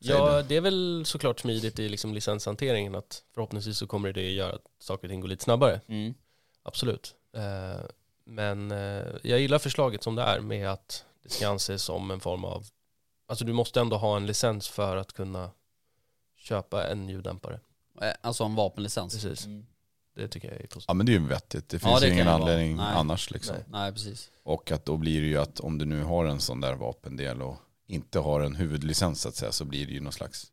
ja, det är väl såklart smidigt i liksom licenshanteringen att förhoppningsvis så kommer det göra att saker och ting går lite snabbare. Mm. Absolut. Eh, men eh, jag gillar förslaget som det är med att det ska anses som en form av, alltså du måste ändå ha en licens för att kunna köpa en ljuddämpare. Eh, Alltså en vapenlicens. Precis. Mm. Det tycker jag är positivt. Ja men det är ju vettigt, det Ja, finns det ju kan ingen det vara. anledning Nej. annars liksom. Nej. Nej precis. Och att då blir det ju att om du nu har en sån där vapendel och inte har en huvudlicens så att säga så blir det ju någon slags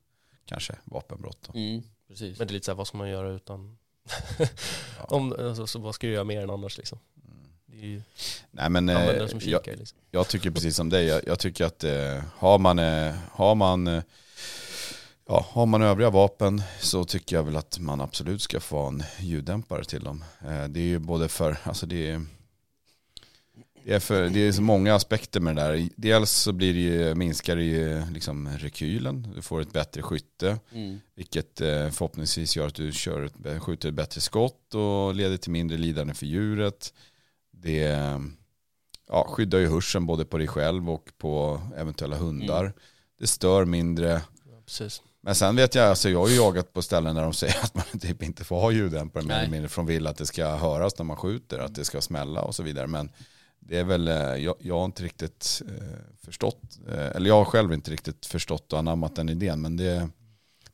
kanske vapenbrott. Då. Mm, precis. Men det är lite så här, vad ska man göra utan, Om, alltså, så vad ska du göra mer än annars liksom? Det är ju Mm. Nej men eh, användaren som jag, kikar liksom. jag tycker precis som dig, jag, jag tycker att eh, har man, eh, har, man eh, ja, har man övriga vapen så tycker jag väl att man absolut ska få en ljuddämpare till dem. Eh, det är ju både för, alltså det är, det är, för, det är så många aspekter med det där. Dels så blir det ju, minskar det ju liksom rekylen, du får ett bättre skytte. Mm. Vilket eh, förhoppningsvis gör att du kör ett, skjuter ett bättre skott och leder till mindre lidande för djuret. Det eh, ja, skyddar ju hörseln både på dig själv och på eventuella hundar. Det stör mindre. Ja, precis. Men sen vet jag, alltså jag har ju jagat på ställen där de säger att man typ inte får ha ljuddämpare mer Nej. eller mindre. För de vill att det ska höras när man skjuter, att det ska smälla och så vidare. Men det är väl, eh, jag, jag har inte riktigt eh, förstått, eh, eller jag har själv inte riktigt förstått och anammat den idén. Men det,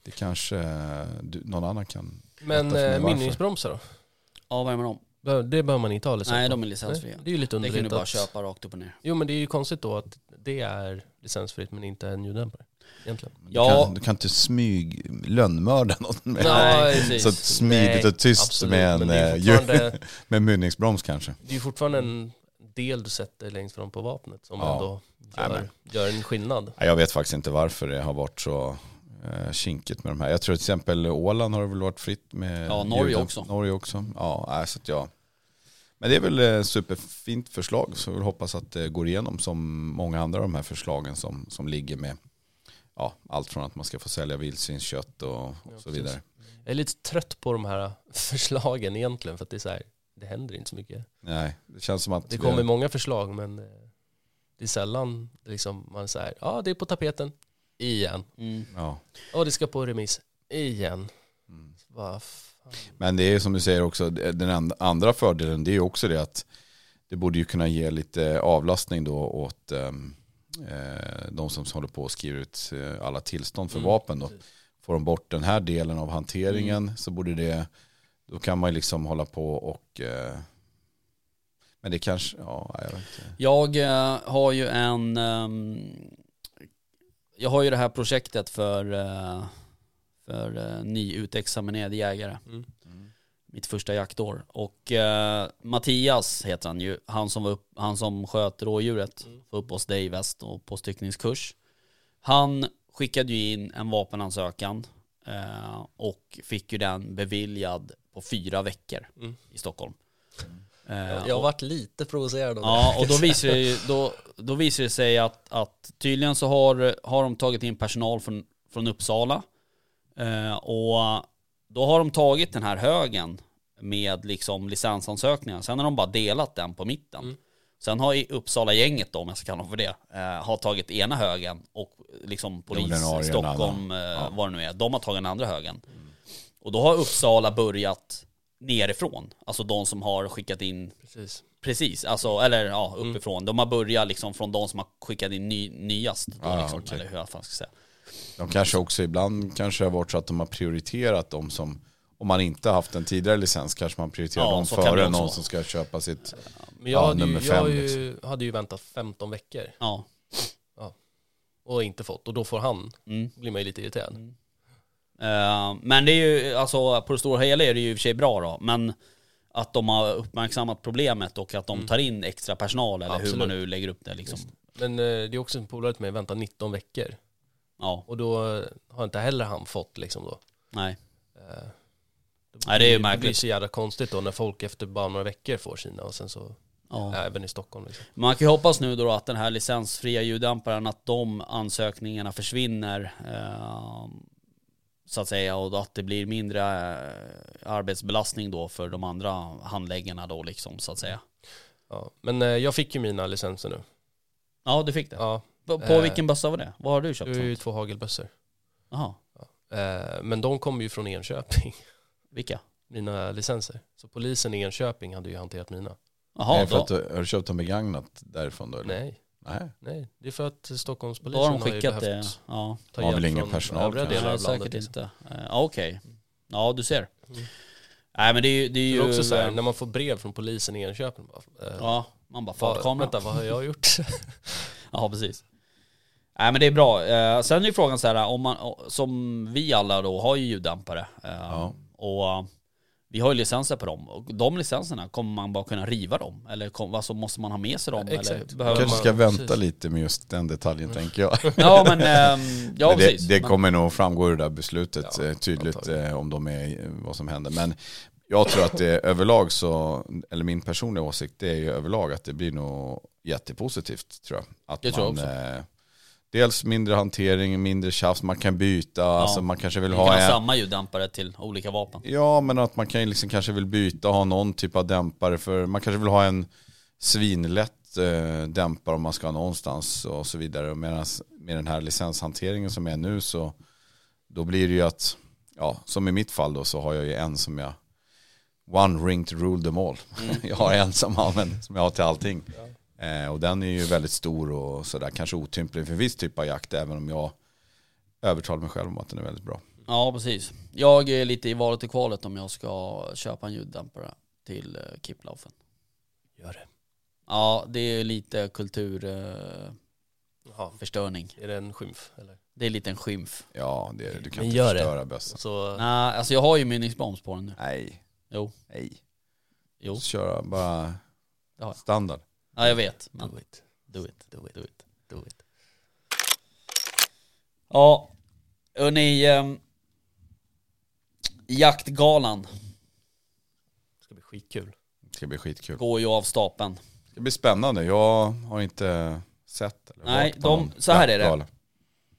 Det kanske eh, du, någon annan kan. Men Berätta för mig eh, varför. minibromsar då? Ja, vad är med dem? Behöver- Det behöver man inte ha licens Nej, på. de är licensfria. Nej, Det är ju lite Det underligt. kan du bara att- köpa rakt upp och ner. Jo men det är ju konstigt då att det är licensfritt men inte en ljuddämpare. Egentligen. Du, Ja. kan, du kan inte smyg lönnmörda någon med, Nej, så precis. smidigt och tyst Absolut, med en men det är eh, ju djur- fortfarande, med mynningsbroms kanske. det är ju fortfarande en del du sätter längst fram på vapnet som Ja. ändå Nej, gör, gör en skillnad. Nej, Jag vet faktiskt inte varför det har varit så eh, kinkigt med de här. Jag tror till exempel Åland har det väl varit fritt med Ja, Norge ljuden. också. Norge också. Ja, nej, så att jag... Men det är väl eh, superfint förslag så vi hoppas att det går igenom som många andra av de här förslagen som, som ligger med ja, allt från att man ska få sälja vildsvinskött och, och så precis. vidare. Jag är lite trött på de här förslagen egentligen för att det är så här, det händer inte så mycket. Nej, det känns som att Det vi- kommer många förslag men eh, det är sällan liksom man säger ja det är på tapeten igen. Mm. ja. Ja det ska på remiss igen. Mm. Vad fan. Men det är ju som du säger också, den and- andra fördelen det är ju också det att det borde ju kunna ge lite avlastning då åt ehm, eh, de som håller på och skriver ut eh, alla tillstånd för Mm, vapen. Då. precis. Får de bort den här delen av hanteringen Mm. så borde det, då kan man ju liksom hålla på och eh, men det kanske, ja jag vet inte. Jag eh, har ju en... ehm, jag har ju det här projektet för, eh, för eh, nyutexaminerade jägare. Mm. Mitt första jaktår. Och eh, Mattias heter han ju. Han som, var upp, han som sköt rådjuret. Var uppe hos dig i väst och på styckningskurs. Han skickade ju in en vapenansökan. eh, och fick ju den beviljad på fyra veckor Mm. i Stockholm. Eh, Jag har och- varit lite provocerad av Ja, och då visar det, ju- då, då visar det sig att, att tydligen så har, har de tagit in personal från, från Uppsala. Eh, och då har de tagit den här högen med liksom licensansökningar. Sen har de bara delat den på mitten. Mm. Sen har i Uppsala gänget då, om jag ska kalla dem för det, eh, har tagit ena högen och liksom polis ordinarie, Stockholm, eh, Ja. vad det nu är, de har tagit den andra högen. Mm. Och då har Uppsala börjat nerifrån, alltså de som har skickat in Precis. Precis, alltså, eller ja, uppifrån. De har börjat liksom från de som har skickat in ny, nyast. Då, Ah, liksom, okej. Eller hur jag fan ska säga. De kanske också ibland kanske har varit så att de har prioriterat de som om man inte haft en tidigare licens kanske man prioriterar Ja, dem så kan det före också någon vara. som ska köpa sitt Men jag, Ja, hade, ju, nummer jag fem, liksom. ju, hade ju väntat 15 veckor Ja. och inte fått och då får han, Mm. blir man ju lite irriterad. Eh, men det är ju, alltså på det stora hela är det ju i och för sig bra då. Men att de har uppmärksammat problemet och att de tar in extra personal eller hur man Absolut. nu lägger upp det liksom. Men eh, det är också en polare till mig, vänta 19 veckor Ja, och då eh, har inte heller han fått liksom då. nej. Eh, Nej, det är ju Det blir märkligt. så jävla konstigt då när folk efter bara några veckor får sina och sen så Ja. även i Stockholm liksom. Man kan ju hoppas nu då att den här licensfria ljuddämparen, att de ansökningarna försvinner. Eh, så att säga och att det blir mindre eh, arbetsbelastning då för de andra handläggarna då liksom så att säga. Ja. Men eh, jag fick ju mina licenser nu. Ja du fick det. Ja, På, på Eh. vilken bössa var det? Vad har du det köpt? är ju för? två hagelbössor. Jaha, Eh, men de kom ju från Enköping, vilka? mina licenser. Så polisen i Enköping hade ju hanterat mina. Jaha, Nej, för att, eh, då, du- har du köpt dem begagnat därifrån då? Eller? Nej, Nej. nej. Det är för att då har Stockholmspolisen de har, skickat ju det. behövt Ja, ta Har hjälp väl ingen från personal övriga kanske. delar nej, av landet. säkert liksom. inte. Eh, ja, Okej. Ja du ser. Nej men det är ju... Det är Det ju eh, är också så här, när man får brev från polisen i Enköping, bara, eh, Ja, man bara vad, fartkamera. vänta vad har jag gjort? Ja, precis. Nej men det är bra. Eh, sen är ju frågan så här, om man, o- som vi alla då har ju ljuddämpare. Eh, Ja. Och eh, vi har ju licenser på dem. Och de licenserna, kommer man bara kunna riva dem? Eller kom, alltså, måste man ha med sig dem? Ja, exakt. Eller Jag behöver kanske man... Mm. ska vänta precis. lite med just den detaljen tänker jag. Ja men, ehm, ja Men precis. det, det Men- kommer nog framgå ur det där beslutet Ja, eh, tydligt antagligen. eh, om de är, eh, vad som händer. Men jag tror att det överlag så, eller min personliga åsikt det är ju överlag att det blir nog jättepositivt tror jag. Att Det tror jag också. eh, Dels mindre hantering, mindre tjafs, man kan byta, alltså man kanske vill man ha kan ha en, samma ljuddämpare till olika vapen. Ja, men att man kan ju liksom kanske vill byta, ha någon typ av dämpare för man kanske vill ha en svinlätt eh, dämpare om man ska någonstans och så vidare. Och medans med den här licenshanteringen som är nu så då blir det ju att, ja, som i mitt fall då så har jag ju en som jag One ring to rule them all. Mm. Jag har en som jag använder, som jag har till allting. Eh, och den är ju väldigt stor och sådär, kanske otymplig för viss typ av jakt, även om jag övertalar mig själv om att den är väldigt bra. Ja, precis. Jag är lite i valet och kvalet om jag ska köpa en ljuddämpare till eh, kipplaufen. Gör det. Ja, det är lite kulturförstöring. Jaha, är det en skymf eller? Det är lite en skymf. Ja, det, du kan Men inte gör det. förstöra bössan. Så Nej, alltså jag har ju mynningsbroms på den nu. Nej. Jo. Nej. Jo. Köra bara Det har jag. standard. Ja, jag vet. Men do it, do it. do it, Do it. do it. Ja, hörni. ehm, jaktgalan Det ska bli skitkul. Det ska bli skitkul. går ju av stapeln. Det ska bli spännande. Jag har inte sett eller Nej, varit på de- någon så här är det. jaktgal.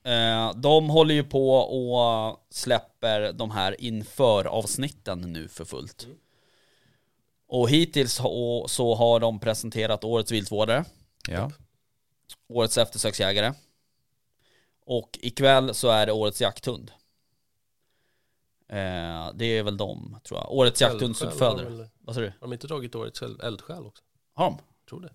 Eh, de håller ju på och släpper de här inför avsnitten nu för fullt. Mm. Och hittills ha- så har de presenterat årets viltvårdare, Ja. årets eftersöksjägare och ikväll så är det årets jakthund. Eh, det är väl de tror jag. Årets Eldsjäl, har jakthundsuppfödare. de väl- Vad sa du? Har de inte dragit årets el- eldsjäl också? Har de? Tror det.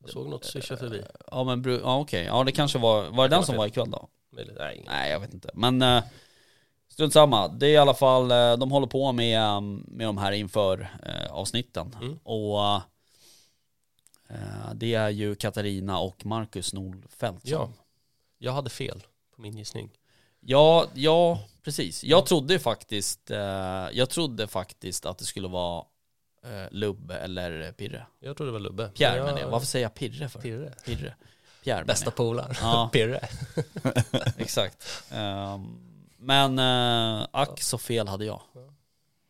Jag såg något swisha förbi. Ja men bru- ja, okej, ja det kanske var, var det den som var ikväll då? Möjligt. Nej, ingen. Nej jag vet inte, men eh, strunt samma. Det är i alla fall, eh, de håller på med, eh, med de här inför eh, avsnitten. Mm. Och eh, det är ju Katarina och Marcus Nordfeldt som- Ja. Jag hade fel på min gissning. ja, ja precis. Jag trodde faktiskt, eh, jag trodde faktiskt att det skulle vara eh, Lubbe eller Pirre. Jag trodde det var Lubbe. Pierre jag, menar jag, varför säger jag Pirre för? Pirre. Pirre. Pierre Bästa menar polaren. jag. Ja. Pirre. Exakt. Ehm, men uh, ack så fel hade jag.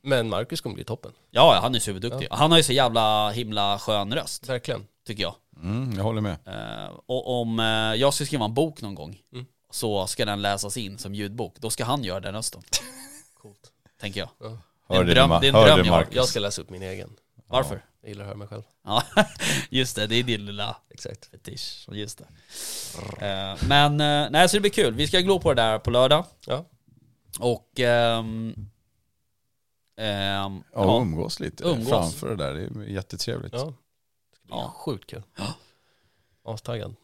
Men Marcus kommer bli toppen. Ja, ja, han är superduktig. Han har ju så jävla himla skön röst, Verkligen. tycker jag. Mm, jag håller med. Ehm, och om eh, jag ska skriva en bok någon gång Mm. så ska den läsas in som ljudbok. Då ska han göra den rösten, Coolt. tänker jag. Ja. Det är en Hörde du, dröm- Ma- det är en hörde dröm du, jag har. Marcus? Jag ska läsa upp min egen. Varför? Jag gillar att höra mig själv. Ja, just det. Det är din lilla Exakt. fetisch. Just det. Ehm, men eh, nej, så det blir kul. Vi ska glo på det där på lördag. Ja. Och... ehm, ehm, Ja, ja. umgås lite Umgås. framför det där. Det är jättetrevligt. Ja. Det ska bli Ja. sjukt kul. Astaggad.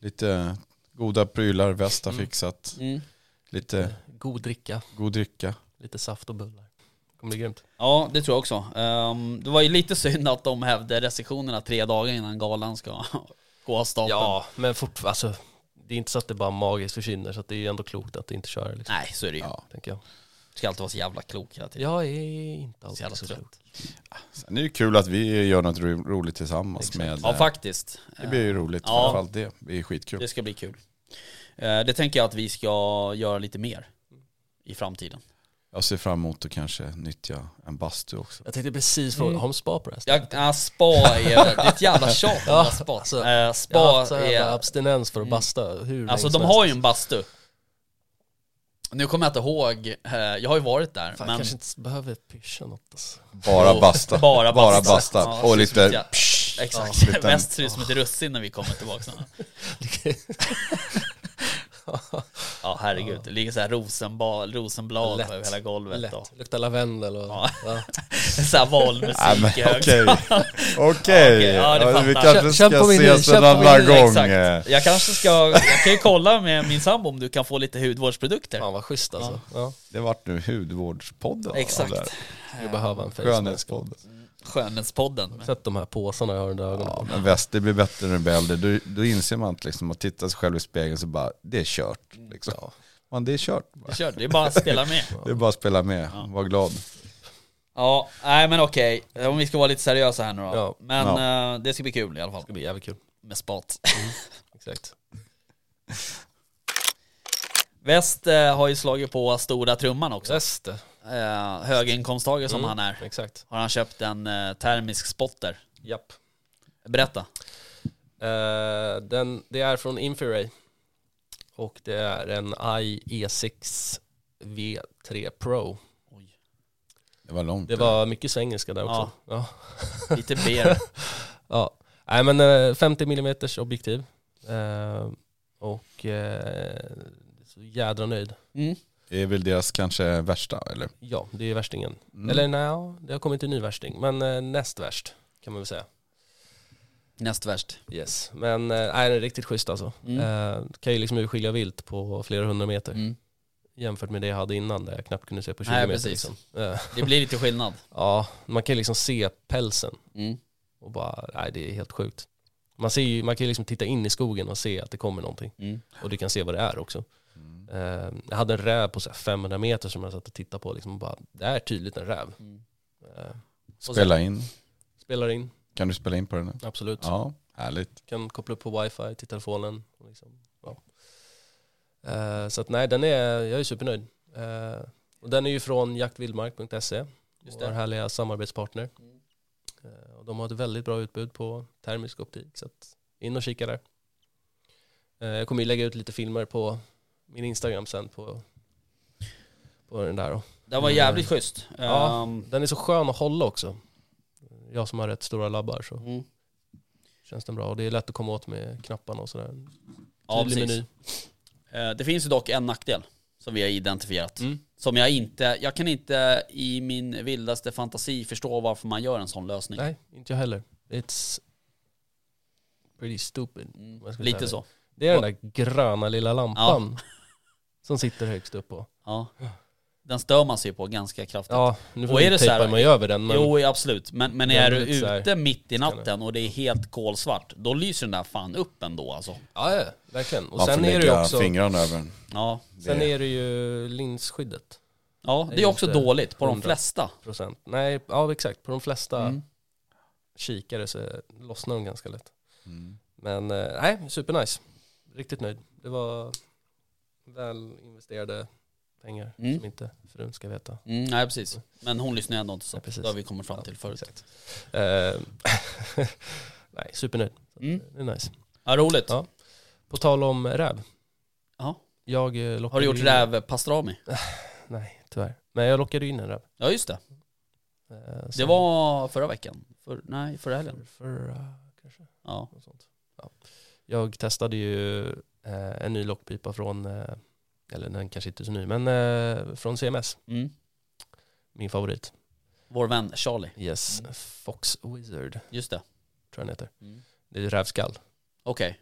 Lite goda prylar, väst har fixat. Mm. Lite God dricka. god dricka. Lite saft och bullar. Det kommer bli grymt. Ja, det tror jag också. Ehm, det var ju lite synd att de hävde restriktionerna tre dagar innan galan ska gå av stapeln. Ja, men fortfarande. Alltså, det är inte så att det bara magiskt försvinner. Så att det är ju ändå klokt att det inte kör. Liksom, Nej, så är det ju. Ja. tänker jag. Ska alltid vara så jävla klok hela tiden. Jag är inte Så jävla alltid så trött. klok. Sen är det kul att vi gör något ro- roligt tillsammans med... Liksom. eh, Ja, faktiskt. det blir ju roligt, Ja. framförallt det. Det är skitkul. Det ska bli kul. Eh, det tänker jag att vi ska göra lite mer i framtiden. Jag ser fram emot att kanske nyttja en bastu också. Jag tänkte precis fråga, har de spa på det här Jag, äh, spa är, det är ett jävla tjat om det här spa. alltså, Eh, Jag har haft spa så här jävla är... abstinens för att basta hur Alltså länge som de helst. har ju en bastu. Nu kommer jag inte ihåg, eh, jag har ju varit där. Fan, men... kanske inte behöver pyscha något alltså. Bara basta. Bara Bara basta. basta. Ja, och precis som ett lite... jä- Exakt, liten- väst ser ut som ett russin när vi kommer tillbaka. sen. ja herregud, det ligger så här rosenblad, rosenblad Lätt. på hela golvet. Lätt. Och Luktar lavendel och... Ja. Ja. så här Nej, men valmusik i hög- Okej, Okej, okej. ja, det Ja, Vi fattar. Kör- kanske kör ska på menyn, ses kör en på annan menyn, gång. eh. Exakt. Jag kanske ska, jag kan ju kolla med min sambo om du kan få lite hudvårdsprodukter. Fan vad schysst alltså. Ja. Det vart nu hudvårdspodden. Exakt. av det Du behöver en här. face Skönhetspodden. Skönhetspodden. Sätt de här påsarna jag har under ögonen. Ja, men väst, det blir bättre när du blir äldre. Då, då inser man att liksom, att titta sig själv i spegeln så bara, det är kört. Liksom. Man, det är kört. bara. Kör, det är bara att spela med. Det är bara att spela med, var glad. Ja, nej men okej, om vi ska vara lite seriösa här nu då. Ja. Men eh, det ska bli kul i alla fall. Det blir jävligt kul. Med spat. Exakt. Väst eh, har ju slagit på stora trumman också. Just det. Eh, höginkomsttagare som han är. Exakt. Har han köpt en eh, termisk spotter? Japp. Berätta. Eh, den, det är från Infiray. Och det är en E IE6 V3 Pro. Det var långt. Det var mycket svengelska där också. Ja. Lite ber. Ja, nej men eh, 50 mm objektiv. Eh, och eh, så jädra nöjd. Mm. Det är väl deras kanske värsta, eller? Ja, det är ju värstingen. Mm. Eller nej, ja, det har kommit en ny värsting, men eh, näst värst kan man väl säga. Näst värst. Yes, men eh, nej, den är riktigt schysst alltså. Mm. Eh, kan ju liksom urskilja vilt på flera hundra meter. Mm. jämfört med det jag hade innan där jag knappt kunde se på 20 Nej, meter. precis. Liksom. Eh, Det blir lite skillnad. Ja, man kan ju liksom se pälsen Mm. och bara, nej det är helt sjukt. Man, ser ju, man kan ju liksom titta in i skogen och se att det kommer någonting. Mm. Och du kan se vad det är också. Mm. Eh, jag hade en räv på så här 500 meter som jag satt och tittade på liksom och bara, det är tydligt en räv. Mm. Eh, Spela in. spelar in, Kan du spela in på den nu? absolut. Ja, härligt. Kan koppla upp på wifi till telefonen. och Liksom. Ja. Eh, så att nej, den är, jag är supernöjd. Eh, och den är ju från jaktvildmark.se, Just vår det. härliga samarbetspartner. Mm. Eh, och de har ett väldigt bra utbud på termisk optik, så att in och kika där. Eh, jag kommer ju lägga ut lite filmer på min Instagram sen på, på den där. Då. Det var jävligt schysst. Ja. Ehm, Den är så skön att hålla också. Jag som har rätt stora labbar så mm. känns den bra. Och det är lätt att komma åt med knapparna och sådär. Ja, Tydlig precis. meny. Eh, Det finns ju dock en nackdel som vi har identifierat. Mm. Som jag inte, jag kan inte i min vildaste fantasi förstå varför man gör en sån lösning. Nej, inte jag heller. It's pretty stupid. Mm, om jag ska säga Lite det. så. Det är den där gröna lilla lampan som sitter högst upp på. Ja. Den stör man sig på ganska kraftigt. Ja, nu Och får är det vi så här- tejpa mig över den. Men Jo, absolut. Men, men Den är är du lite så här- ute mitt i natten och det är helt kolsvart, då lyser den där fan upp ändå alltså. Ja, ja, verkligen. Och Man får sen är, det ju lägga också, fingrarna över den. Ja, sen är det ju linsskyddet. ja det Det är är också inte dåligt på de hundra. flesta. Procent. Nej, ja exakt. På de flesta Mm. kikare så lossnar de ganska lätt. Mm. Men eh, nej, supernice. Riktigt nöjd. Det var väl investerade pengar Mm. som inte frun ska veta. Mm, nej, precis. Men hon lyssnar ju ändå inte så. Nej, precis. det har vi kommit fram till Ja, förut. exakt. Eh, nej, supernöjd. Mm. Det är nice. Ja, roligt. Ja. På tal om räv. Ja. Jag eh, lockade Har du gjort in... rävpastrami? Nej, tyvärr. Men jag lockade ju in en räv. Ja, just det. Eh, Det sen- var förra veckan. För, nej, förra helgen. För, förra kanske. Ja. Något sånt. Ja. Jag testade ju eh, en ny lockpipa från, eh, eller den kanske inte är så ny, men eh, från CMS. Mm. Min favorit. Vår vän Charlie. Yes, Mm. Fox Wizard tror Just det. jag den heter. Mm. Det är ju rävskall. Okej.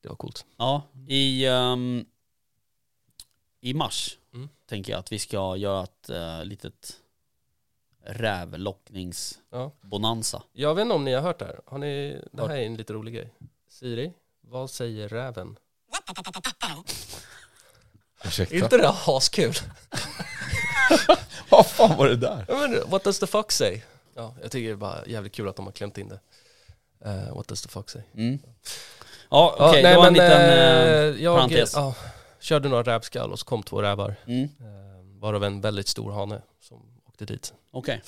Det var coolt. Ja, i, ehm, i mars Mm. tänker jag att vi ska göra ett uh, litet Ja. rävlockningsbonanza. Jag vet inte om ni har hört det här. Har ni, det Hört. här är en lite rolig grej. Siri, vad säger räven? Ursäkta. Är inte det här askul? Vad fan var det där? Ja, men, what does the fuck say? Ja, jag tycker det är bara jävligt kul att de har klämt in det. Eh, what does the fuck say? Mm. Ja, okej, Ja, det var en liten... eh, eh, jag, parentes. Ja, körde några rävskall och så kom två rävar. mm, Eh, varav en väldigt stor hane som åkte dit. Okej,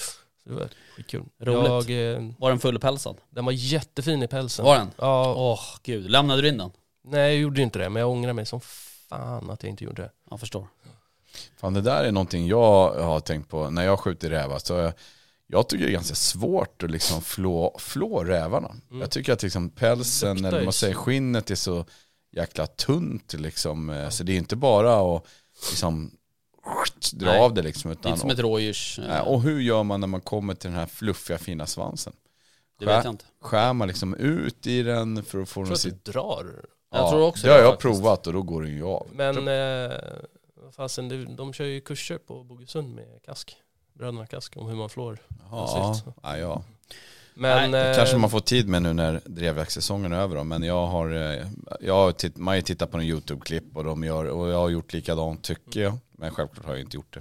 Så det var skitkul. Roligt. Jag, eh, var den fullpälsad? den var jättefin i pälsen. Var den? Ja, Åh gud, lämnade du in den? Nej, jag gjorde inte det, men jag ångrar mig som fan att jag inte gjorde det. Jag förstår. Fan det där är någonting jag har tänkt på när jag skjuter rävar. Så jag tycker det är ganska svårt att liksom flå, flå rävarna. Jag tycker att liksom pälsen, Luktar eller ju man säger så. skinnet är så jäkla tunt liksom. Eh, Så det är inte bara att liksom dra Nej. av det liksom. Det är Utan, inte som ett rådjurs... eh, Nej, och hur gör man när man kommer till den här fluffiga fina svansen? det vet jag inte. Skär man liksom ut i den för att få Jag tror den att sitta? att du drar. Jag tror också det har det, jag faktiskt. provat och då går den ju av. Men eh, vad fasen, det- de kör ju kurser på Bogesund med Kask. Bröderna Kask om hur man flår. Ja, Precis. ja, ja. Men, Det eh, kanske man får tid med nu när drevjaktssäsongen är över då, men jag har, eh, jag har titt, man har ju tittat på en YouTube-klipp och, de gör, och jag har gjort likadant tycker jag, men självklart har jag inte gjort det.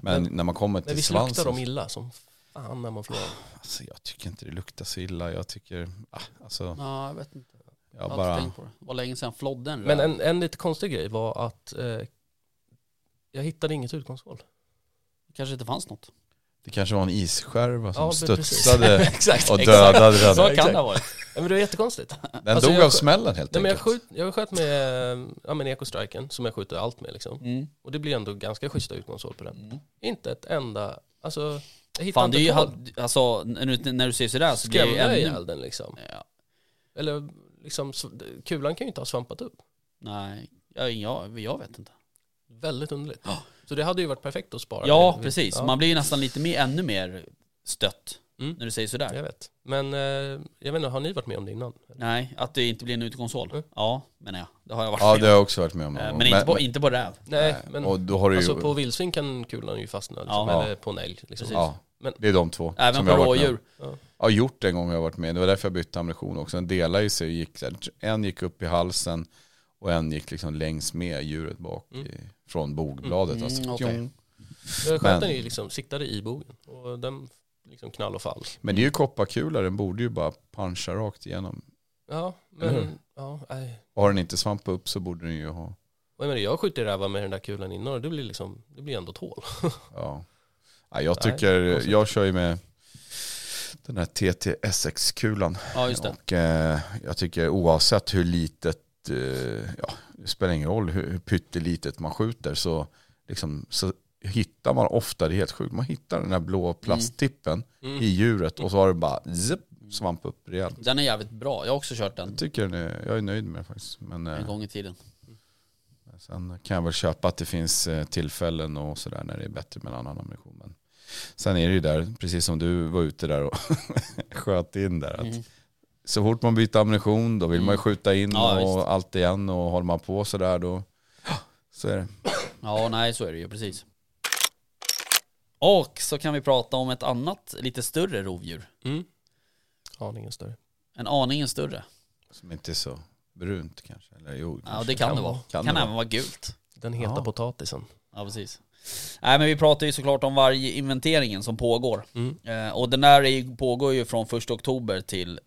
Men, Men- när man kommer men till visst luktar svansen, de illa som fan när man flår. alltså, jag tycker inte det luktar så illa, jag tycker, ah, alltså, Ja, jag vet inte. jag Jag har inte bara, tänkt på det. Det var länge sedan flodden Men en, en lite konstig grej var att eh, jag hittade inget utgångshål. kanske inte fanns något. det kanske var en isskärva som Ja, men precis. studsade Exakt, och dödade den. Så kan Exakt. det ha varit. Ja, men det var jättekonstigt. Den Alltså, dog jag- av smällen helt Nej, men jag, enkelt. skjut, jag sköt med eh, ja, men ekostriken som jag skjuter allt med liksom. Mm. Och det blir ändå ganska schyssta utgångshål på den. Mm. Inte ett enda, alltså jag hittar Fan inte det är ju, ett hål. ha- alltså när du, när du säger sådär så blir det ju skrämde ännu... ihjäl den liksom. Ja, Eller liksom, sv- kulan kan ju inte ha svampat upp. nej, jag, jag, jag vet inte. Väldigt underligt. Så det hade ju varit perfekt att spara. Ja det. precis, Ja. man blir ju nästan lite mer, ännu mer stött Mm. när du säger sådär. Jag vet. Men eh, jag vet inte, har ni varit med om det innan? Nej, att det inte blir en utekonsol. Mm. Ja, menar jag. Det har jag varit Ja, med det har jag också varit med om. om. Eh, Men inte på, inte på räv. Nej, men och då har du ju, alltså, på vildsvin kan kulan ju fastna, liksom, Ja. eller på en älg. Liksom. ja, Men- det är de två Även som på jag har varit med om. rådjur. Ja, gjort en gång har jag varit med. Det var därför jag bytte ammunition också. Den delade ju sig. Gick, så här- en gick upp i halsen och en gick liksom längs med djuret bak Mm. i, från bogbladet. Alltså. Mm, okej. Tjong. Men Men- Sköten är ju liksom siktade i bogen och den liksom knall och fall. Men det är ju kopparkula, den borde ju bara puncha rakt igenom. Ja, Eller hur? Mm-hmm. men ja, nej. Och har den inte svamp upp så borde den ju ha... Och jag, menar, jag skjuter rävar med den där kulan innan och det blir, liksom, det blir ändå tål. Ja. Ja, jag Nej, tycker, konstigt. jag kör ju med den här TTSX-kulan. Ja, just det. Och eh, jag tycker oavsett hur litet, eh, ja, det spelar ingen roll hur, hur pyttelitet man skjuter så, liksom, så hittar man ofta, det är helt sjukt, man hittar den här blå Mm. plasttippen Mm. i djuret och så har det bara zip, svamp upp rejält. Mm. Den är jävligt bra. Jag har också kört den Jag tycker den är, jag är nöjd med det faktiskt. Men en eh, gång i tiden. sen kan jag väl köpa att det finns eh, tillfällen och sådär när det är bättre med en annan ammunition. Men sen är det ju där, precis som du var ute där och sköt in där, att Mm. så fort man byter ammunition då vill man ju skjuta in Ja, och visst. allt igen och håller man på sådär då så är det. Ja, nej så är det ju precis. Och så kan vi prata om ett annat lite större rovdjur. Mm. Aningen större. En aningen större. Som inte är så brunt kanske. Eller jo, Ja, kanske. det kan det vara. Kan Kan, det vara. även vara gult. Den heta Ja. potatisen. Ja, precis. Nej, men vi pratar ju såklart om varje inventeringen som pågår. Mm. Eh, och den där är ju, pågår ju från 1 oktober till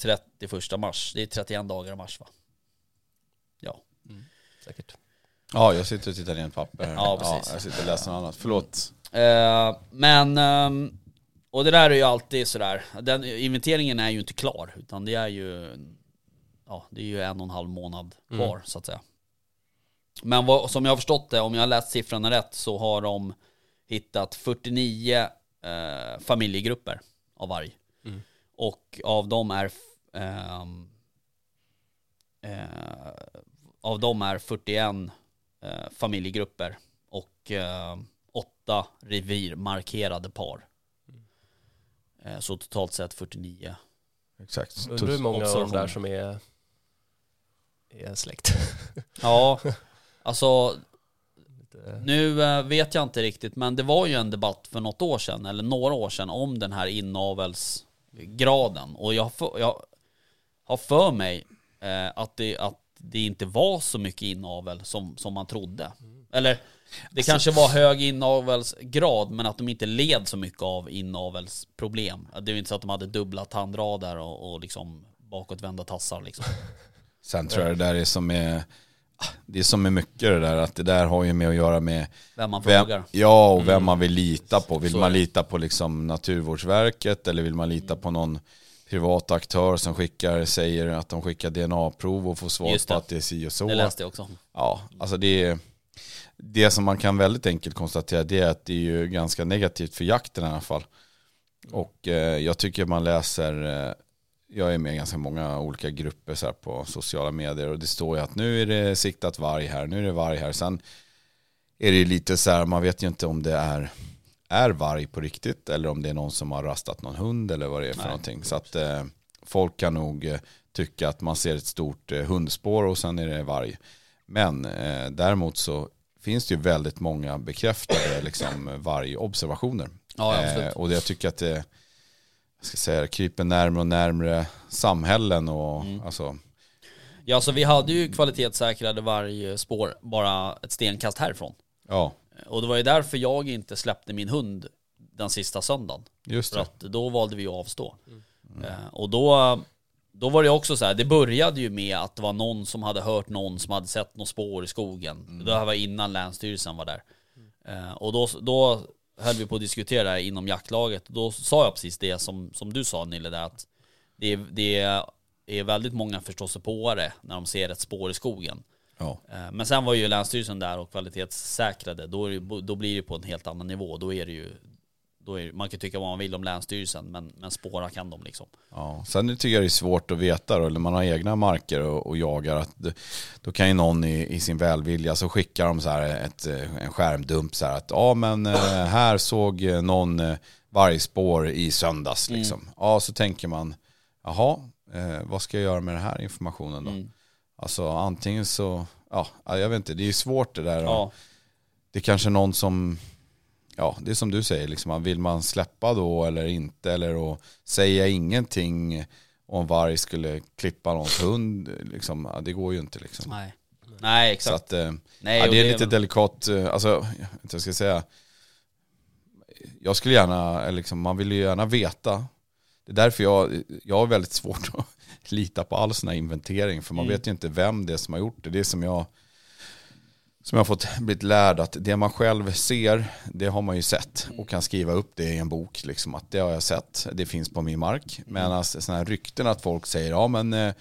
31 mars. Det är 31 dagar i mars va? Säkert. Ja, jag sitter och tittar i en papper här. Ja, precis. jag sitter och läser något annat. Förlåt. Eh, men, ehm, och det där är ju alltid sådär, den inventeringen är ju inte klar utan det är ju, ja det är ju en och en halv månad kvar så att säga. Men vad, som jag har förstått det, om jag har läst siffrorna rätt så har de hittat 49 eh, familjegrupper av varg. Mm. Och av dem är, f- ehm, eh, av dem är 41 eh, familjegrupper och eh, åtta revirmarkerade par. Eh, Så totalt sett 49. Exakt. Undrar hur många av de Observation. där som är, är släkt. Ja, alltså Lite- nu eh, vet jag inte riktigt men det var ju en debatt för något år sedan eller några år sedan om den här inavelsgraden och jag, har för- jag har för mig eh, att, det, att det inte var så mycket inavel som, som man trodde. Eller det Alltså- kanske var hög inavelsgrad men att de inte led så mycket av inavelsproblem. Det är ju inte så att de hade dubbla tandrader och, och liksom bakåtvända tassar liksom. Sen tror jag det där är som är, ah, det är som är mycket det där att det där har ju med att göra med Vem man Vem, frågar. ja, och vem man vill lita på. Vill Mm. Så man är det. lita på liksom Naturvårdsverket eller vill man lita på någon privat aktör som skickar, säger att de skickar DNA-prov och får Just svar det. på att det är si och så. Det läste jag också. Ja, alltså det, är- det som man kan väldigt enkelt konstatera det är att det är ju ganska negativt för jakten i alla fall. Och eh, jag tycker man läser, eh, jag är med i ganska många olika grupper så här på sociala medier och det står ju att nu är det siktat varg här, nu är det varg här. Sen är det ju lite så här, man vet ju inte om det är, är varg på riktigt eller om det är någon som har rastat någon hund eller vad det är för Nej. någonting. Så att eh, folk kan nog eh, tycka att man ser ett stort eh, hundspår och sen är det varg. Men eh, däremot så finns det ju väldigt många bekräftade liksom, vargobservationer. Ja, ja, absolut. Eh, och det- jag tycker att det jag ska säga, det kryper närmare och närmare samhällen och Mm. alltså, Ja, så vi hade ju kvalitetssäkrade varje spår bara ett stenkast härifrån. ja, Och det var ju därför jag inte släppte min hund den sista söndagen. just För det. Mm. att då valde vi att avstå. Eh, och då, då var det också så här, det började ju med att det var någon som hade hört någon som hade sett något spår i skogen. Mm. Det här var innan Länsstyrelsen var där. Eh, och då, då höll vi på att diskutera det här inom jaktlaget. Då sa jag precis det som, som du sa Nille, där att det, är- det är väldigt många förståsigpåare när de ser ett spår i skogen. Ja. Eh, Men sen var ju Länsstyrelsen där och kvalitetssäkrade. Då, är det, då blir det på en helt annan nivå. Då är det ju, då är, man kan tycka vad man vill om Länsstyrelsen, men, men spåra kan de liksom. Ja, sen tycker jag det är svårt att veta då, när man har egna marker och, och jagar, att det, då kan ju någon i, i sin välvilja så skickar de så här ett, eh, en skärmdump så här att ja men eh, här såg eh, någon eh, varje spår i söndags. Liksom. Ja, så tänker man, jaha, eh, vad ska jag göra med den här informationen då? Alltså antingen så, ja, jag vet inte, det är ju svårt det där. Ja. Det är kanske någon som, ja, det är som du säger, liksom, vill man släppa då eller inte? Eller att säga ingenting om varg skulle klippa någons hund, liksom, ja, det går ju inte liksom. Nej. Nej, Så exakt. att, eh, Nej, ja, och det är det- lite delikat, eh, alltså, jag vet inte vad jag ska säga. Jag skulle gärna, eller liksom, man vill ju gärna veta. Det är därför jag, jag har väldigt svårt att lita på all sån här inventering. För man vet ju inte vem det är som har gjort det. Det är som jag, som jag har fått blivit lärd att det man själv ser, det har man ju sett. Och kan skriva upp det i en bok. Liksom, att det har jag sett, det finns på min mark. Men alltså, sådana här rykten att folk säger, ja men eh,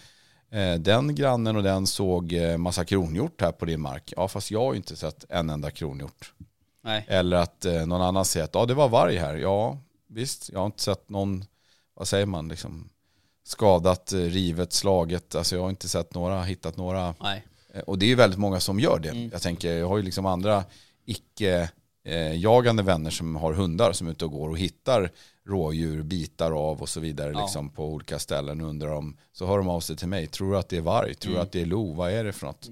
Eh, den grannen och den såg eh, massa kronhjort här på din mark. Ja, fast jag har ju inte sett en enda kronhjort. Nej. Eller att eh, någon annan säger att ja, det var varg här. Ja, visst, jag har inte sett någon, vad säger man, liksom skadat, eh, rivet, slaget. Alltså jag har inte sett några, hittat några. Nej. Eh, Och det är ju väldigt många som gör det. Mm. Jag tänker, jag har ju liksom andra icke-jagande vänner som har hundar som är ute och går och hittar rådjur, bitar av och så vidare Ja. liksom på olika ställen. Undrar om, så hör de av sig till mig, tror du att det är varg? Tror du Mm. att det är lo? Vad är det för något?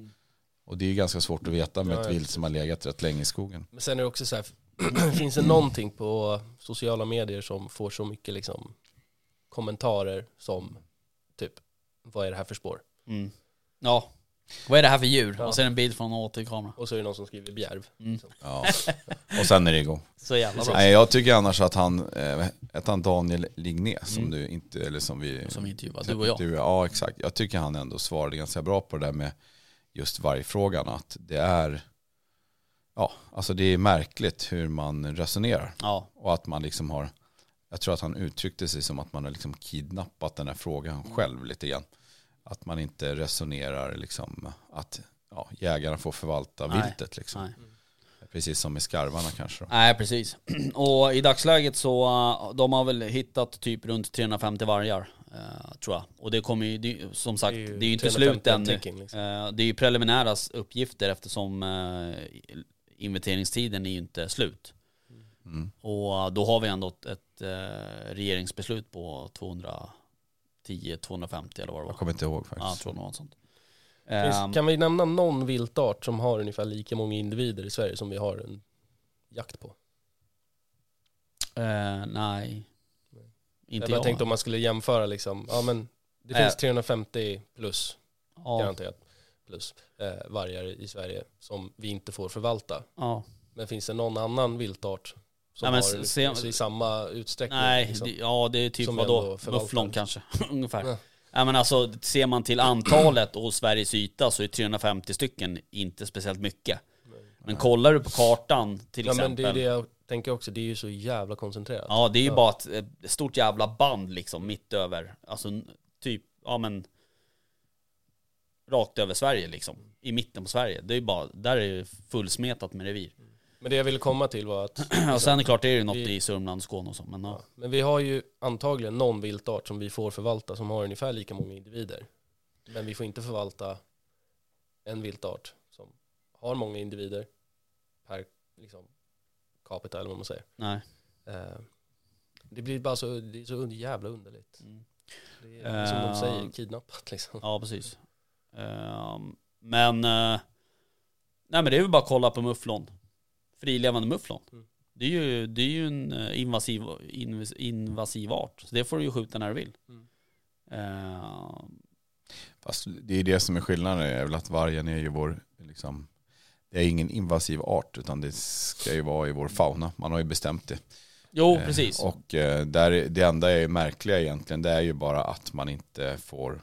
Och det är ju ganska svårt att veta med Ja, ett ja, vilt som har legat rätt länge i skogen. Men sen är det också så här, finns det någonting på sociala medier som får så mycket liksom, kommentarer som typ, vad är det här för spår? Mm. Ja. Vad är det här för djur? Ja. Och så är det en bild från en återkamera. Och så är det någon som skriver bjärv. Liksom. Ja. Och sen är det igång. Så jävla bra. Nej, jag tycker annars att han, eh, att han Daniel Ligné, som du inte, eller som vi Mm. Som vi intervjuade, du och jag. Du, ja, exakt. Jag tycker han ändå svarade ganska bra på det där med just vargfrågan. Att det är, ja, alltså det är märkligt hur man resonerar. Ja. Och att man liksom har, jag tror att han uttryckte sig som att man har liksom kidnappat den här frågan Mm. själv lite grann. Att man inte resonerar liksom att ja, jägarna får förvalta Nej. viltet liksom. Nej. Precis som i skarvarna kanske då. Nej precis. Och i dagsläget så, eh, de har väl hittat typ runt 350 vargar. eh, tror jag. Och det kommer ju, det, som sagt, det är ju, inte 350 slut ännu. anteckning, liksom. Eh, det är ju preliminära s- uppgifter eftersom eh, inventeringstiden är ju inte slut. Mm. Och då har vi ändå ett, ett eh, regeringsbeslut på 210-250 eller vad det var. Jag kommer inte ihåg faktiskt. Ja, jag tror det var något sånt. Finns, Ehm, kan vi nämna någon viltart som har ungefär lika många individer i Sverige som vi har en jakt på? eh, nej. Inte jag bara jag. tänkte om man skulle jämföra liksom, ja men det Nej. finns 350 plus, ja, garanterat, plus eh, vargar i Sverige som vi inte får förvalta. ja. Men finns det någon annan viltart som Nej, men har liksom s- se- i samma utsträckning? Nej, liksom? det, ja det är typ Som vadå? ändå förvaltar. Mufflon kanske, ungefär. Ja. Ja, men alltså, ser man till antalet och Sveriges yta så är 350 stycken inte speciellt mycket. Men kollar du på kartan till ja, men exempel. det är det jag tänker också, det är ju så jävla koncentrerat. Ja det är ju bara ett, ett stort jävla band liksom mitt över, alltså n- typ, ja men rakt över Sverige liksom, i mitten på Sverige. Det är ju bara, där är det fullsmetat med revir. Men det jag ville komma till var att, Och sen är det klart det är ju något Vi- i Sörmland, Skåne och så, men ja. men vi har ju antagligen någon viltart som vi får förvalta som har ungefär lika många individer. Men vi får inte förvalta en viltart som har många individer per liksom, capita eller vad man säger. nej. Eh, Det blir bara så, det är så un- jävla underligt. Mm. Det är som de Eh, säger, kidnappat liksom. Ja, precis. Ehm, men, eh, nej men det är ju bara att kolla på mufflon. Frilevande mufflon. Mm. Det är ju, det är ju en eh, invasiv, invas- invasiv art, så det får du ju skjuta när du vill. Mm. Ehm, Fast det är det som är skillnaden, är väl att vargen är ju vår, liksom, det är ingen invasiv art utan det ska ju vara i vår fauna. Man har ju bestämt det. jo, Eh, precis. Och eh, där, är- det enda är ju märkliga egentligen, det är ju bara att man inte får,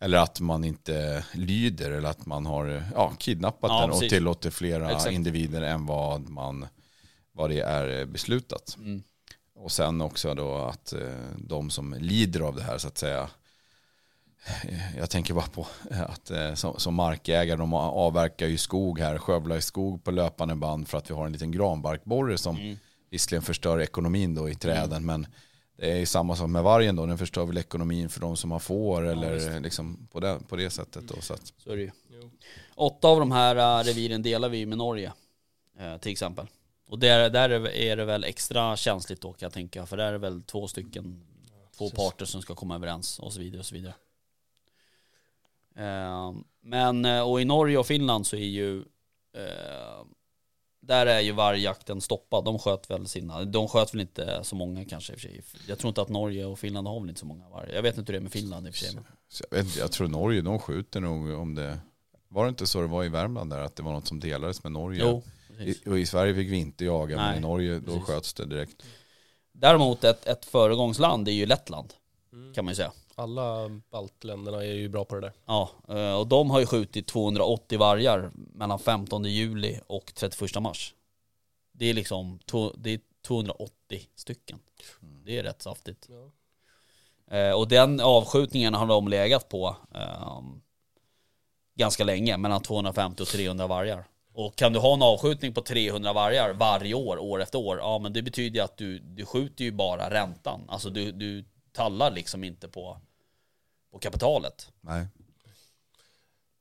eller att man inte lyder eller att man har eh, ja, kidnappat Ja, den och precis. tillåter flera Exakt. individer än vad, man, vad det är eh, beslutat. Mm. Och sen också då att eh, de som lider av det här så att säga. eh, Jag tänker bara på eh, att eh, som, som markägare, de avverkar ju skog här, skövlar ju skog på löpande band för att vi har en liten granbarkborre som Mm. visserligen förstör ekonomin då i träden, men det är ju samma sak med vargen då, den förstör väl ekonomin för de som har får eller liksom på det, på det sättet då. Så att, Så är det ju. Åtta av de här eh, reviren delar vi ju med Norge, eh, till exempel. Och där, där är- är det väl extra känsligt då kan jag tänka, för där är det väl två stycken, två parter som ska komma överens och så vidare och så vidare. Eh, Men, eh, och i Norge och Finland så är ju, eh, där är ju vargjakten stoppad. De sköt väl sina, de sköt väl inte så många kanske i och för sig. Jag tror inte att Norge och Finland har väl inte så många vargar. Jag vet inte hur det är med Finland i och för sig. men- Så jag, vet, inte, jag tror Norge, de skjuter nog om det... Var det inte så det var i Värmland där, att det var något som delades med Norge? Jo, precis. I, och i Sverige fick vi inte jaga, men Nej, i Norge då precis. sköts det direkt. Däremot ett, ett föregångsland är ju Lettland Mm. kan man ju säga. Alla baltländerna är ju bra på det där. Ja, eh, och de har ju skjutit 280 vargar mellan 15 juli och 31 mars. Det är liksom to, det är 280 stycken. Det är rätt saftigt. Ja. Eh, Och den avskjutningen har de legat på ehm, ganska länge, mellan 250 och 300 vargar. Och kan du ha en avskjutning på 300 vargar varje år, år efter år, ja men det betyder ju att du, du skjuter ju bara räntan. Alltså du, du tallar liksom inte på, på kapitalet. Nej.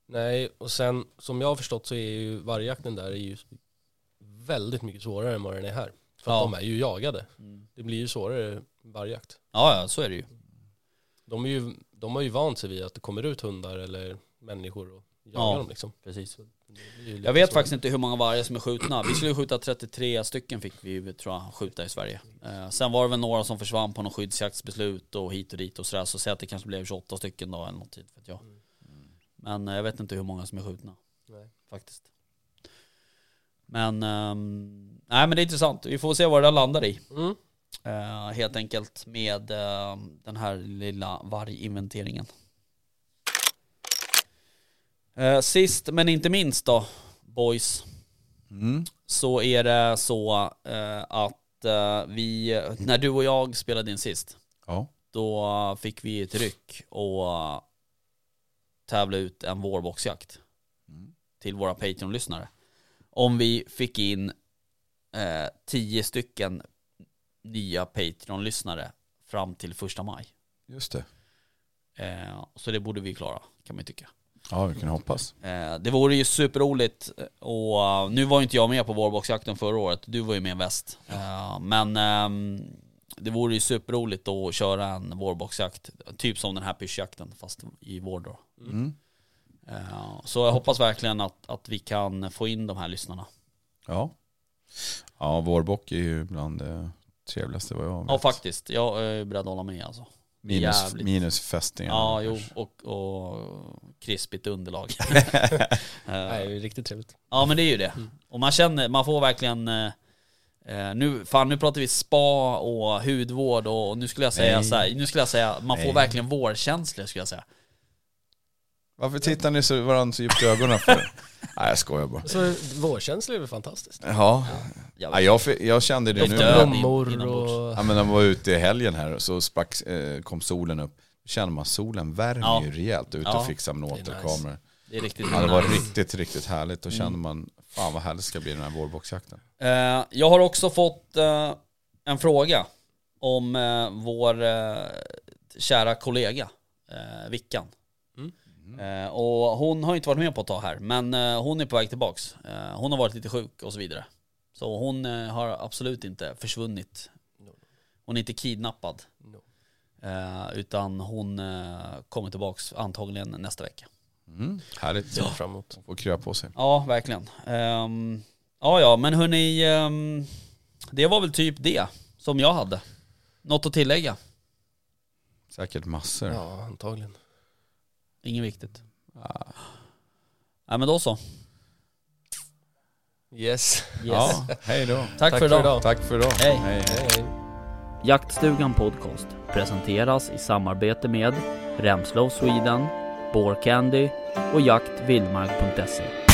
Nej, och sen som jag har förstått så är ju vargjakten där är ju väldigt mycket svårare än vad den är här. För Ja. att de är ju jagade. Det blir ju svårare vargjakt. Ja, ja, så är det ju. De, är ju, de har ju vant sig vid att det kommer ut hundar eller människor och jagar Ja. dem liksom. Precis. Det blir ju lite Jag vet svårare. faktiskt inte hur många vargar som är skjutna. Vi skulle skjuta 33 stycken fick vi ju, tror jag, skjuta i Sverige. Eh, sen var det väl några som försvann på någon skyddsjaktsbeslut och hit och dit och sådär. Så säg att det kanske blev 28 stycken då eller något tid, vet jag. Men eh, jag vet inte hur många som är skjutna. Nej. Faktiskt. Men, ehm, nej men det är intressant. Vi får se vad det där landar i. Mm. Eh, helt enkelt med eh, den här lilla varginventeringen. Eh, sist men inte minst då, boys, Mm. så är det så eh, att eh, vi, när du och jag spelade in sist, Ja. då fick vi ett ryck och tävla ut en vårboxjakt Mm. till våra Patreon-lyssnare. Om vi fick in eh, tio stycken nya Patreon-lyssnare fram till första maj. Just det. Eh, så det borde vi klara, kan man ju tycka. Ja, vi kan hoppas. Eh, det vore ju superroligt och eh, nu var ju inte jag med på vårboxjakten förra året, du var ju med väst. Eh, men ehm, det vore ju superroligt att köra en vårboxjakt, typ som den här pyschjakten fast i vår då. Mm. Eh, så jag hoppas verkligen att, att vi kan få in de här lyssnarna. Ja. Ja, vårbock är ju bland det trevligaste vad jag vet. Ja faktiskt, jag är beredd att hålla med alltså. Minus, jävligt. minus fästingarna. Ja, jo, och, och krispigt underlag. Eh, Nej, det är riktigt trevligt. Ja men det är ju det. Och man känner, man får verkligen eh, eh, nu, fan nu pratar vi spa och hudvård och, och nu skulle jag säga Nej. så här, nu skulle jag säga, man får Nej. verkligen vårkänslor skulle jag säga. Varför tittar ni så varandra så djupt i ögonen för? Nej, jag skojar bara. Så vårkänsla är väl fantastiskt. Ja, ja jag, fi- jag kände det Jag nu. dör. Död in- Blommor och... Ja, men när man var ute i helgen här och så sprack, eh, kom solen upp. Då känner man solen värmer Ja. ju rejält ute Ja. och fixar med Det är nice. återkameror. Det är riktigt Ja, det var nice. Mm. riktigt, riktigt härligt. Då kände man, fan vad härligt det ska bli den här vårboxjakten. Eh, jag har också fått eh, en fråga om eh, vår eh, kära kollega eh, Vickan. Mm. Eh, och hon har inte varit med på ett tag här, men eh, hon är på väg tillbaks. Eh, hon har varit lite sjuk och så vidare. Så hon eh, har absolut inte försvunnit. No. Hon är inte kidnappad. No. Eh, utan hon eh, kommer tillbaks antagligen nästa vecka. Mm. Härligt. Ser fram emot. Och krya på sig. Ja, verkligen. Um, ja, ja, men hörni, ehm, det var väl typ det som jag hade. Något att tillägga? Säkert massor. Ja, antagligen. Inget viktigt. Nej, men då så. Yes. Ja, hej då. Tack, för idag. Tack för idag. Hej. hej. Hej, hej. Jaktstugan Podcast presenteras i samarbete med Remslow Sweden, Bore Candy och jaktvildmark.se.